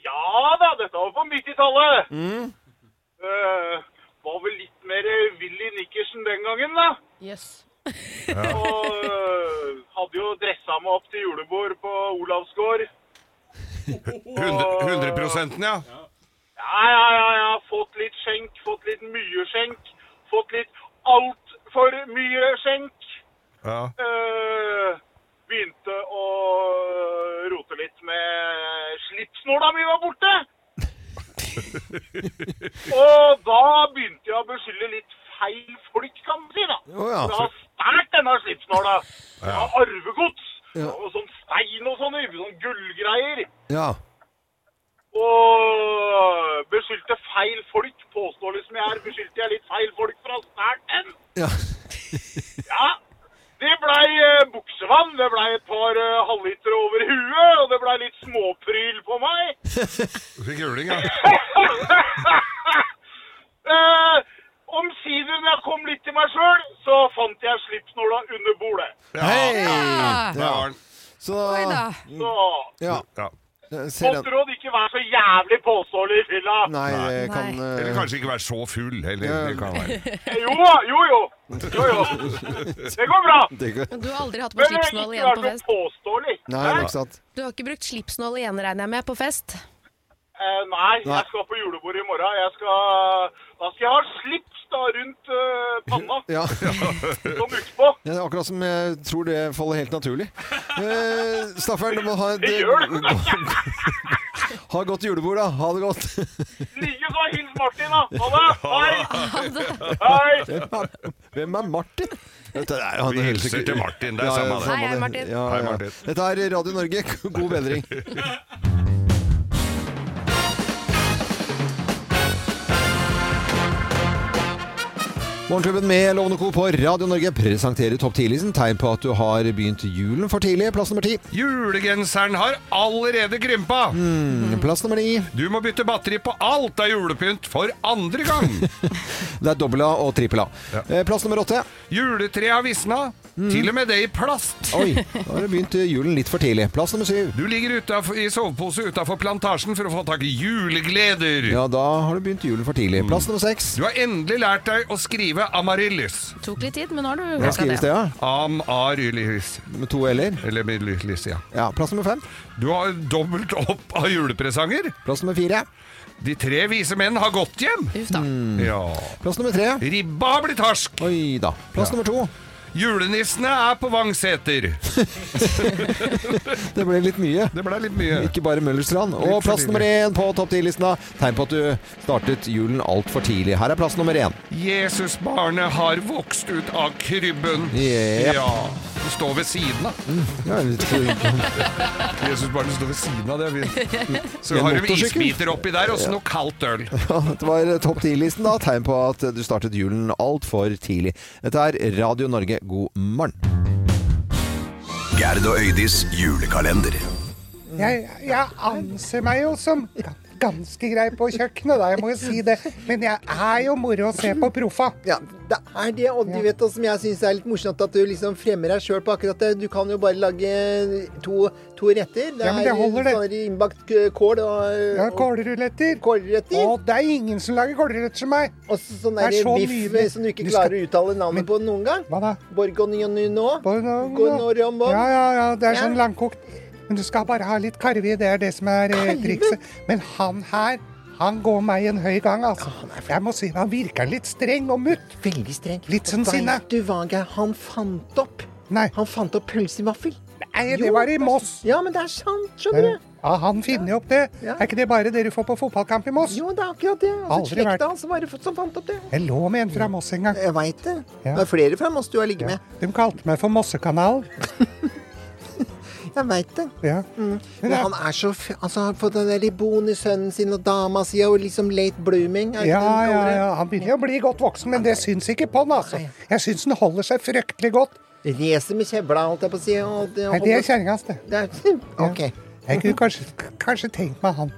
S16: Ja da, dette var på 90-tallet.
S1: Mm.
S16: Eh, var vel litt mer Willy Nickersen den gangen, da.
S2: Ja.
S16: Og eh, hadde jo dressa meg opp til julebord på Olavsgård.
S2: 100, 100 ja.
S16: Ja, ja, ja, ja. Fått litt skjenk, fått litt mye skjenk. Fått litt altfor mye skjenk.
S2: ja.
S16: Eh, begynte å rote litt med slipsnåla mi var
S1: *laughs*
S16: borte. Og da begynte jeg å beskylde litt feil folk, kan man si. da.
S1: Å, ja.
S16: For Jeg har stjålet denne slipsnåla. Jeg
S1: Ja.
S16: har arvegods.
S1: Ja.
S16: Og sånn stein og sånne, sånn gullgreier.
S1: Ja.
S16: Og beskyldte feil folk. Påstår liksom jeg er, beskyldte jeg litt feil folk for å ha stjålet den.
S1: Ja.
S16: *laughs* Ja, det blei eh, buksevann, det blei et par eh, halvliter over huet, og det blei litt småpryl på
S1: *laughs*
S16: meg.
S2: Du fikk juling, ja.
S16: Eh, Omsider, når jeg kom litt til meg sjøl, så fant jeg slipsnåla under bordet.
S1: Hei!
S16: Ja.
S1: Så
S16: Så
S1: Ja. Jeg ser
S16: Godt
S1: den.
S16: råd, ikke vær så jævlig påståelig i fylla.
S1: Nei, det kan eh,
S2: Eller kanskje ikke være så full heller. Det kan være.
S16: Eh, Jo da, jo jo. Jo jo. Det går bra.
S1: Det går-
S11: Men du har aldri hatt på
S16: Men ikke
S11: slipsnål igjen
S16: vær
S11: på
S16: så
S11: fest?
S16: påståelig.
S1: Nei, det er ikke sant.
S17: Du har ikke brukt slipsnål igjen, regner jeg med, på fest?
S16: Eh, nei,
S1: Nei.
S16: jeg skal på julebord i morgen. Jeg skal, da skal jeg ha slips da rundt eh, panna. *laughs*
S1: Ja.
S16: Som utpå.
S1: Ja, det er akkurat som jeg tror det faller helt naturlig. Eh, Staffern, du må ha et
S16: Det gjør det.
S1: *laughs* Ha godt julebord, da. Ha det godt.
S16: Ikke så hils Martin, da. *laughs* Ha det.
S1: Ha
S16: Hei.
S1: *laughs* Hvem er- Hvem er Martin? Dette er, han
S2: Vi
S1: er helt
S2: hilser
S1: sikkert-
S2: til Martin, det er
S1: Ja,
S2: samme
S1: ja,
S2: det.
S1: samme
S2: Hei, hei,
S1: det.
S2: Martin.
S1: Ja,
S2: Hei,
S1: ja.
S2: Martin.
S1: Dette er Radio Norge.
S2: *laughs*
S1: God bedring. Morgenklubben med Lovende Co. på Radio Norge presenterer Topp 10-listen. Tegn på at du har begynt julen for tidlig. Plass nummer ti.
S2: Julegenseren har allerede krympa!
S1: Mm, Plass nummer ni.
S2: Du må bytte batteri på alt av julepynt for andre gang!
S1: Det er dobbel A og trippel A. Eh, Plass nummer åtte.
S2: Juletreet har visna. Til og med det i plast.
S1: Mm. Oi, da har du begynt julen litt for tidlig. Plass nummer syv.
S2: Du ligger utenfor, i sovepose utafor plantasjen for å få tak i julegleder.
S1: Ja, da har du begynt julen for tidlig. Plass nummer seks.
S2: Du har endelig lært deg å skrive amaryllis.
S11: Tok litt tid, men nå har du
S1: Hva skrives det, da?
S2: Amaryllis.
S1: Med to l-er?
S2: Eller med lys, ja.
S1: Ja, Plass nummer fem.
S2: Du har dobbelt opp av julepresanger.
S1: Plass nummer fire.
S2: De tre vise menn har gått hjem.
S1: Mm.
S2: Ja.
S1: Plass nummer tre.
S2: Ribba har blitt harsk.
S1: Oi da. Plass nummer to.
S2: Julenissene er på Vangseter.
S1: Det ble litt mye.
S2: Det ble litt mye.
S1: Ikke bare Møllerstrand.
S2: Litt
S1: Og
S2: for
S1: plass
S2: tidlig.
S1: nummer én på topp ti-listen. da. Tegn på at du startet julen altfor tidlig. Her er plass nummer *laughs* én.
S2: Jesusbarnet har vokst ut av krybben.
S1: Jep. Mm,
S2: Ja. Det står ved siden av.
S1: Ja,
S2: *laughs* Jesusbarnet står ved siden av det.
S1: *laughs*
S2: vi- Så
S1: En
S2: har de
S1: motorsykkel.
S2: isbiter oppi der, og så noe kaldt øl.
S1: det var topp ti-listen, da. Tegn på at du startet julen altfor tidlig. Dette er Radio Norge, god morgen.
S5: Gerd og Øydis julekalender.
S18: Jeg, jeg anser meg jo som
S4: ganske grei på kjøkkenet, da, jeg må jo si det. Men jeg er jo moro å se på proffa.
S6: Ja, det er det, og du vet også, som jeg syns er litt morsomt, at du liksom fremmer deg sjøl på akkurat det. Du kan jo bare lage to, to retter.
S4: Ja, men det holder, det.
S6: sånn Innbakt k- kål og
S4: Ja, kålruletter.
S6: Kålruletter?
S4: Å, det er ingen som lager kålruletter som meg.
S6: Og sånn der
S4: Det er så
S6: biff
S4: nydelig.
S6: som du ikke
S4: Du skal-
S6: klarer å uttale navnet på noen gang. Hva da? Borgognino. Borgognino.
S4: Ja, ja, ja, det er
S6: Ja.
S4: sånn langkokt. Men du skal bare ha litt karve, det er det som er eh, trikset. Men han her, han går meg en høy gang, altså. Jeg må si, han virker litt streng og mutt.
S6: Veldig streng.
S4: Litt sånn
S6: Og
S4: sinne.
S6: Vet du hva Geir, han fant opp?
S4: Nei.
S6: Han fant opp pølse i vaffel.
S4: Nei, det
S6: Jo,
S4: var i
S6: er
S4: Moss.
S6: sant. Ja, men det er sant, skjønner
S4: Ja,
S6: du.
S4: han finner jo opp det. Er ikke det bare det du får på fotballkamp i Moss?
S6: Jo, det er akkurat det. Altså,
S4: Aldri vært-
S6: Slekta hans var det som fant opp det.
S4: Jeg lå med en fra Moss en gang.
S6: Jeg veit det.
S4: Ja.
S6: Det er flere fra Moss du har ligget med.
S4: De kalte meg for Mossekanalen.
S6: Jeg veit det.
S4: Ja.
S6: Men han er så f altså, Han har fått den der boende sønnen sin og dama si og liksom late blooming. er
S4: Ja,
S6: det ikke det
S4: ja,
S6: de kaller det?
S4: ja. Han begynner å bli godt voksen, men det syns ikke på han, altså. Jeg syns han holder seg fryktelig godt.
S6: Racer med kjevla, holdt jeg på å si. Og det,
S4: Nei, det er kjerringa hans, det.
S6: Det er- OK.
S4: Jeg kunne kanskje, kanskje tenkt meg han.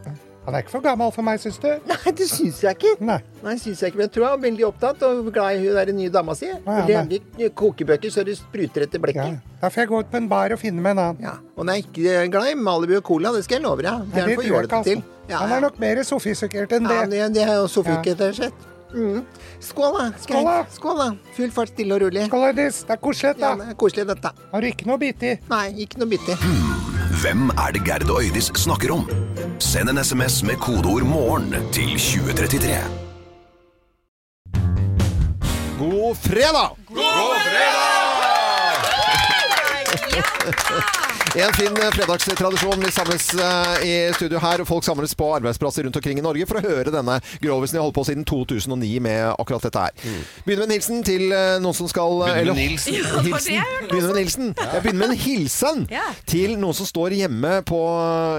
S4: Han er ikke for gammel for meg, syns du?
S6: *laughs* Nei, det syns jeg ikke.
S4: Nei.
S6: Nei, synes jeg ikke, Men jeg tror jeg er veldig opptatt og glad i hun der nye dama si.
S4: ja,
S6: Levig kokebøker så det spruter etter blekket.
S4: Da får jeg gå ut på en bar og finne meg en annen.
S6: Og hun er ikke glad i Malibu og cola, det skal jeg love deg. Det
S4: Nei,
S6: er for jålete
S4: altså.
S6: til. Ja,
S4: Han er nok mer sofistikert enn det.
S6: ja, det, det er jo
S4: Ja.
S6: sofikket, rett og slett. Mm. Skål, da. Skal
S4: Skål, da.
S6: jeg- Skål, da. Full fart, stille og rolig.
S4: Skål, Ardis. Det er koselig,
S6: da. Ja, det er koselig, dette.
S4: Har du ikke noe bitt i?
S6: Nei, ikke noe bitt i.
S5: Hvem er det Gerd og Øydis snakker om? Send en sms med kodeord 'morgen' til 2033.
S1: God fredag!
S5: God
S1: En fin eh, fredagstradisjon. Vi samles eh, i studio her, og folk samles på arbeidsplasser rundt omkring i Norge for å høre denne grovisen. Jeg holdt på siden 2009 med akkurat dette her. Begynner med en hilsen til eh, noen som skal eh,
S2: Mm. Begynner med
S1: eller-
S2: Nilsen. Ja, det var det jeg hørte også.
S1: Begynner med en hilsen. Jeg begynner med en hilsen
S2: Ja.
S1: til noen som står hjemme, på,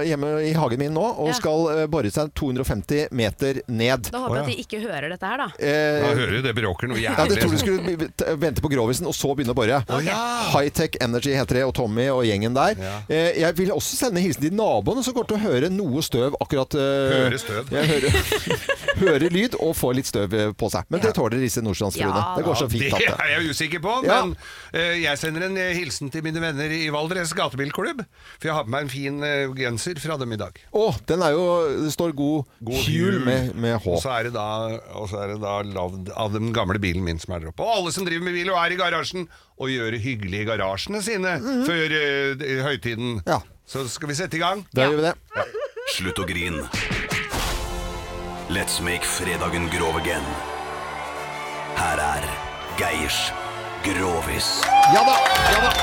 S1: hjemme i hagen min nå og
S8: Ja.
S1: skal eh, bore seg 250 meter ned.
S8: Da håper jeg at de ikke hører dette her, da.
S1: Eh,
S2: Da hører du det bråker noe
S1: ja, det
S2: jævlig.
S1: tror du skulle b- t- vente på grovisen, og så begynne å bore. Hightech Energy heter det, og Tommy og gjengen der. Eh, Jeg vil også sende hilsen til naboene, som kommer til å høre noe støv akkurat eh,
S2: Høre støv.
S1: Jeg hører, hører lyd og får litt støv eh, på seg. Men det tåler disse nordstrandsfruene. det går så fint.
S2: Ja,
S1: Tante.
S2: Det er jeg usikker på,
S1: Ja.
S2: men eh, jeg sender en eh, hilsen til mine venner i Valdres gatebilklubb. For jeg har på meg en fin eh, genser fra dem i dag.
S1: Å, den er jo Det står god, hjul med, med H.
S2: Og så er det da, og så er det da lagd av den gamle bilen min som er der oppe. Og alle som driver med bil og er i garasjen, og gjør det hyggelig i garasjene sine
S1: Mhm.
S2: før eh, d- høytiden. Så skal vi sette i gang.
S1: Da gjør vi det.
S5: Slutt å grine. Let's make fredagen grov again. Her er Geirs Grovis.
S1: Ja da! Ja da!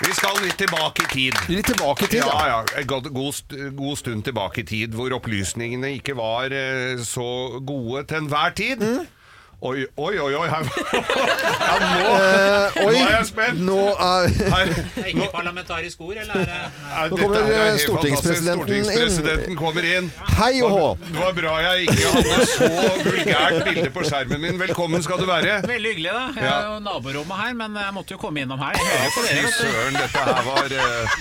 S2: Vi skal litt tilbake i tid.
S1: Litt tilbake i tid,
S2: ja.
S1: ja.
S2: ja, En god, god, st god stund tilbake i tid, hvor opplysningene ikke var eh, så gode til enhver tid.
S1: Mhm.
S2: Oi, oi, oi, oi. Her, *laughs* ja, nå,
S1: Eh,
S2: nå
S1: oi,
S2: er jeg
S1: *laughs*
S2: spent.
S1: nå er
S2: Her,
S13: Det er ikke parlamentarisk ord, eller er det
S2: Nei,
S1: Nå
S2: dette
S1: kommer,
S2: her er
S1: eh,
S2: helt
S1: stortingspresidenten
S2: fantastisk. Stortingspresidenten kommer inn.
S1: Hei og hå.
S2: Det var bra jeg ikke hadde så vulgært bilde på skjermen min. *laughs* Velkommen skal du være.
S13: Veldig hyggelig, da. Jeg er jo naborommet her, men jeg måtte jo komme innom her. Jeg hører jo på
S2: Fy
S13: dere, vet
S2: søren,
S13: du.
S2: dette her var eh,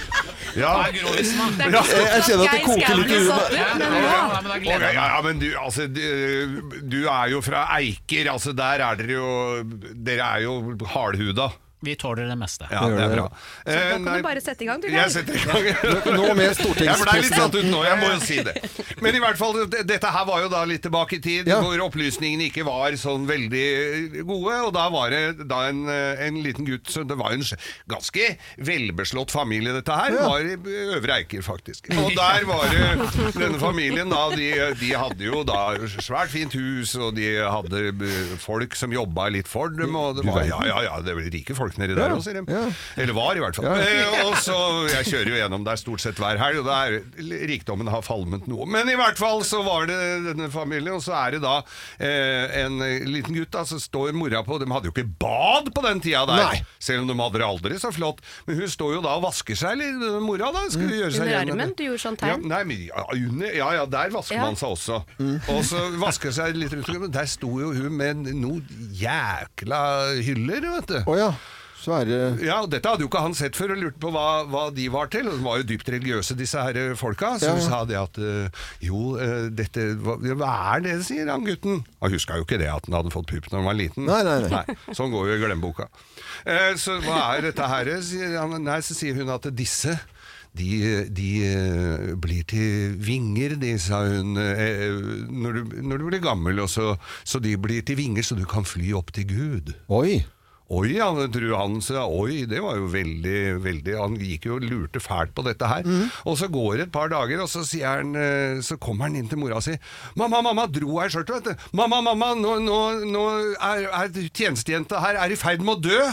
S2: Ja.
S13: Hva er grovisen, da?
S2: Ja.
S1: Jeg kjenner at det koker litt i huet.
S13: Ja,
S2: Ja,
S13: men
S2: ja,
S13: bra. Ja, men da
S2: ja,
S13: gleder jeg meg.
S2: ja, men du, altså, du, du er jo fra Eiker. Altså, der er dere jo Dere er jo hardhuda.
S13: Vi tåler det meste.
S2: Ja, det er bra. Eh,
S11: Da kan
S2: nei,
S11: du bare sette i gang, du. Geir.
S2: jeg setter i gang.
S1: Nå med
S2: Jeg ble litt satt ut nå, jeg må jo
S1: stortingspresidenten.
S2: si det. Men i hvert fall, d- dette her var jo da litt tilbake i tid, hvor opplysningene ikke var sånn veldig gode. Og da var det da en, eh, en liten gutt så Det var jo en sj- ganske velbeslått familie, dette her.
S1: Ja.
S2: Var i eh, Øvre Eiker, faktisk. Og der var det denne familien, da. De, de hadde jo da svært fint hus, og de hadde eh, folk som jobba litt for dem. Og det
S1: Du
S2: var,
S1: verden.
S2: ja, ja, ja, det var rike folk nedi der
S1: Ja,
S2: òg, sier de.
S1: ja.
S2: Eller var, i hvert fall.
S1: Ja.
S2: *laughs* Eh, og så, Jeg kjører jo gjennom der stort sett hver helg, og der, rikdommen har falmet noe. Men i hvert fall så var det denne familien, og så er det da eh, en liten gutt da, så står mora på De hadde jo ikke bad på den tida der,
S1: Nei.
S2: selv om de hadde det aldri så flott. Men hun står jo da og vasker seg, eller den mora da. Skal
S1: Mm.
S2: gjøre seg
S11: Mm. Under
S2: ren.
S11: armen? Du gjorde sånn
S2: Ja,
S11: tegn?
S2: nei, men, ja, under, ja, ja, der vasker
S11: Ja.
S2: man seg også. Og så vasker seg litt rundt omkring, men der sto jo hun med noen jækla hyller, vet du.
S1: Å ja. Svære
S2: Ja, og Dette hadde jo ikke han sett før og lurte på hva, hva de var til. Og De var jo dypt religiøse, disse her eh, folka.
S1: Ja,
S2: Som
S1: ja.
S2: sa det at eh, jo, eh, dette hva, ja, hva er det, sier han gutten. Han huska jo ikke det at han hadde fått pupp når han var liten.
S1: Nei, nei, nei.
S2: Sånn går jo i glemmeboka. Eh, så hva er dette her? Sier han. Nei, så sier hun at disse de, de eh, blir til vinger, de, sa hun, eh, eh, når du, når du blir gammel. Og så, så de blir til vinger, så du kan fly opp til Gud.
S1: Oi!
S2: Oi, ja, det tror han sa. Oi, det var jo veldig, veldig Han gikk jo og lurte fælt på dette her. Og så går det et par dager, og så, sier han, eh, så kommer han inn til mora si. 'Mamma, mamma, dro ei skjørtet, vet du.' 'Mamma, mamma, nå, nå, nå er, er tjenestejenta her er i ferd med å dø.'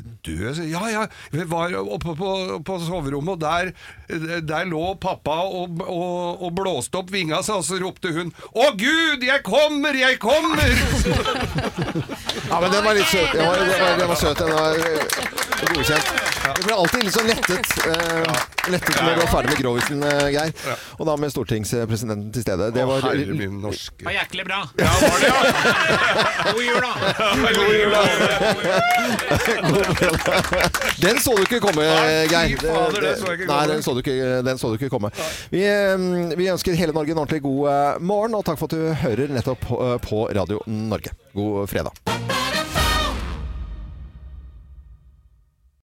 S2: Død? sier jeg. Ja, ja. Vi var oppe på, på soverommet, og der, der lå pappa og, og, og blåste opp vinga seg, og så ropte hun 'Å Gud, jeg kommer, jeg kommer!'
S1: Ja, men den var litt søt. Den var, den var, den var, søt. Den var eh, godkjent. Jeg ble alltid litt sånn lettet, eh, lettet når du var ferdig med Grovisen, eh, Geir. Og da med stortingspresidenten til stede. Det var
S2: herre min norske
S13: Det var jæklig bra.
S2: *laughs* God jul, da!
S1: Den så du ikke komme, Geir.
S2: fader, den så jeg ikke
S1: Nei,
S2: komme.
S1: den så du ikke, den så du ikke komme. Vi, eh, vi ønsker hele eh, Norge en ordentlig god eh, morgen, og takk for at du hører nettopp på- på Radio Norge. God fredag.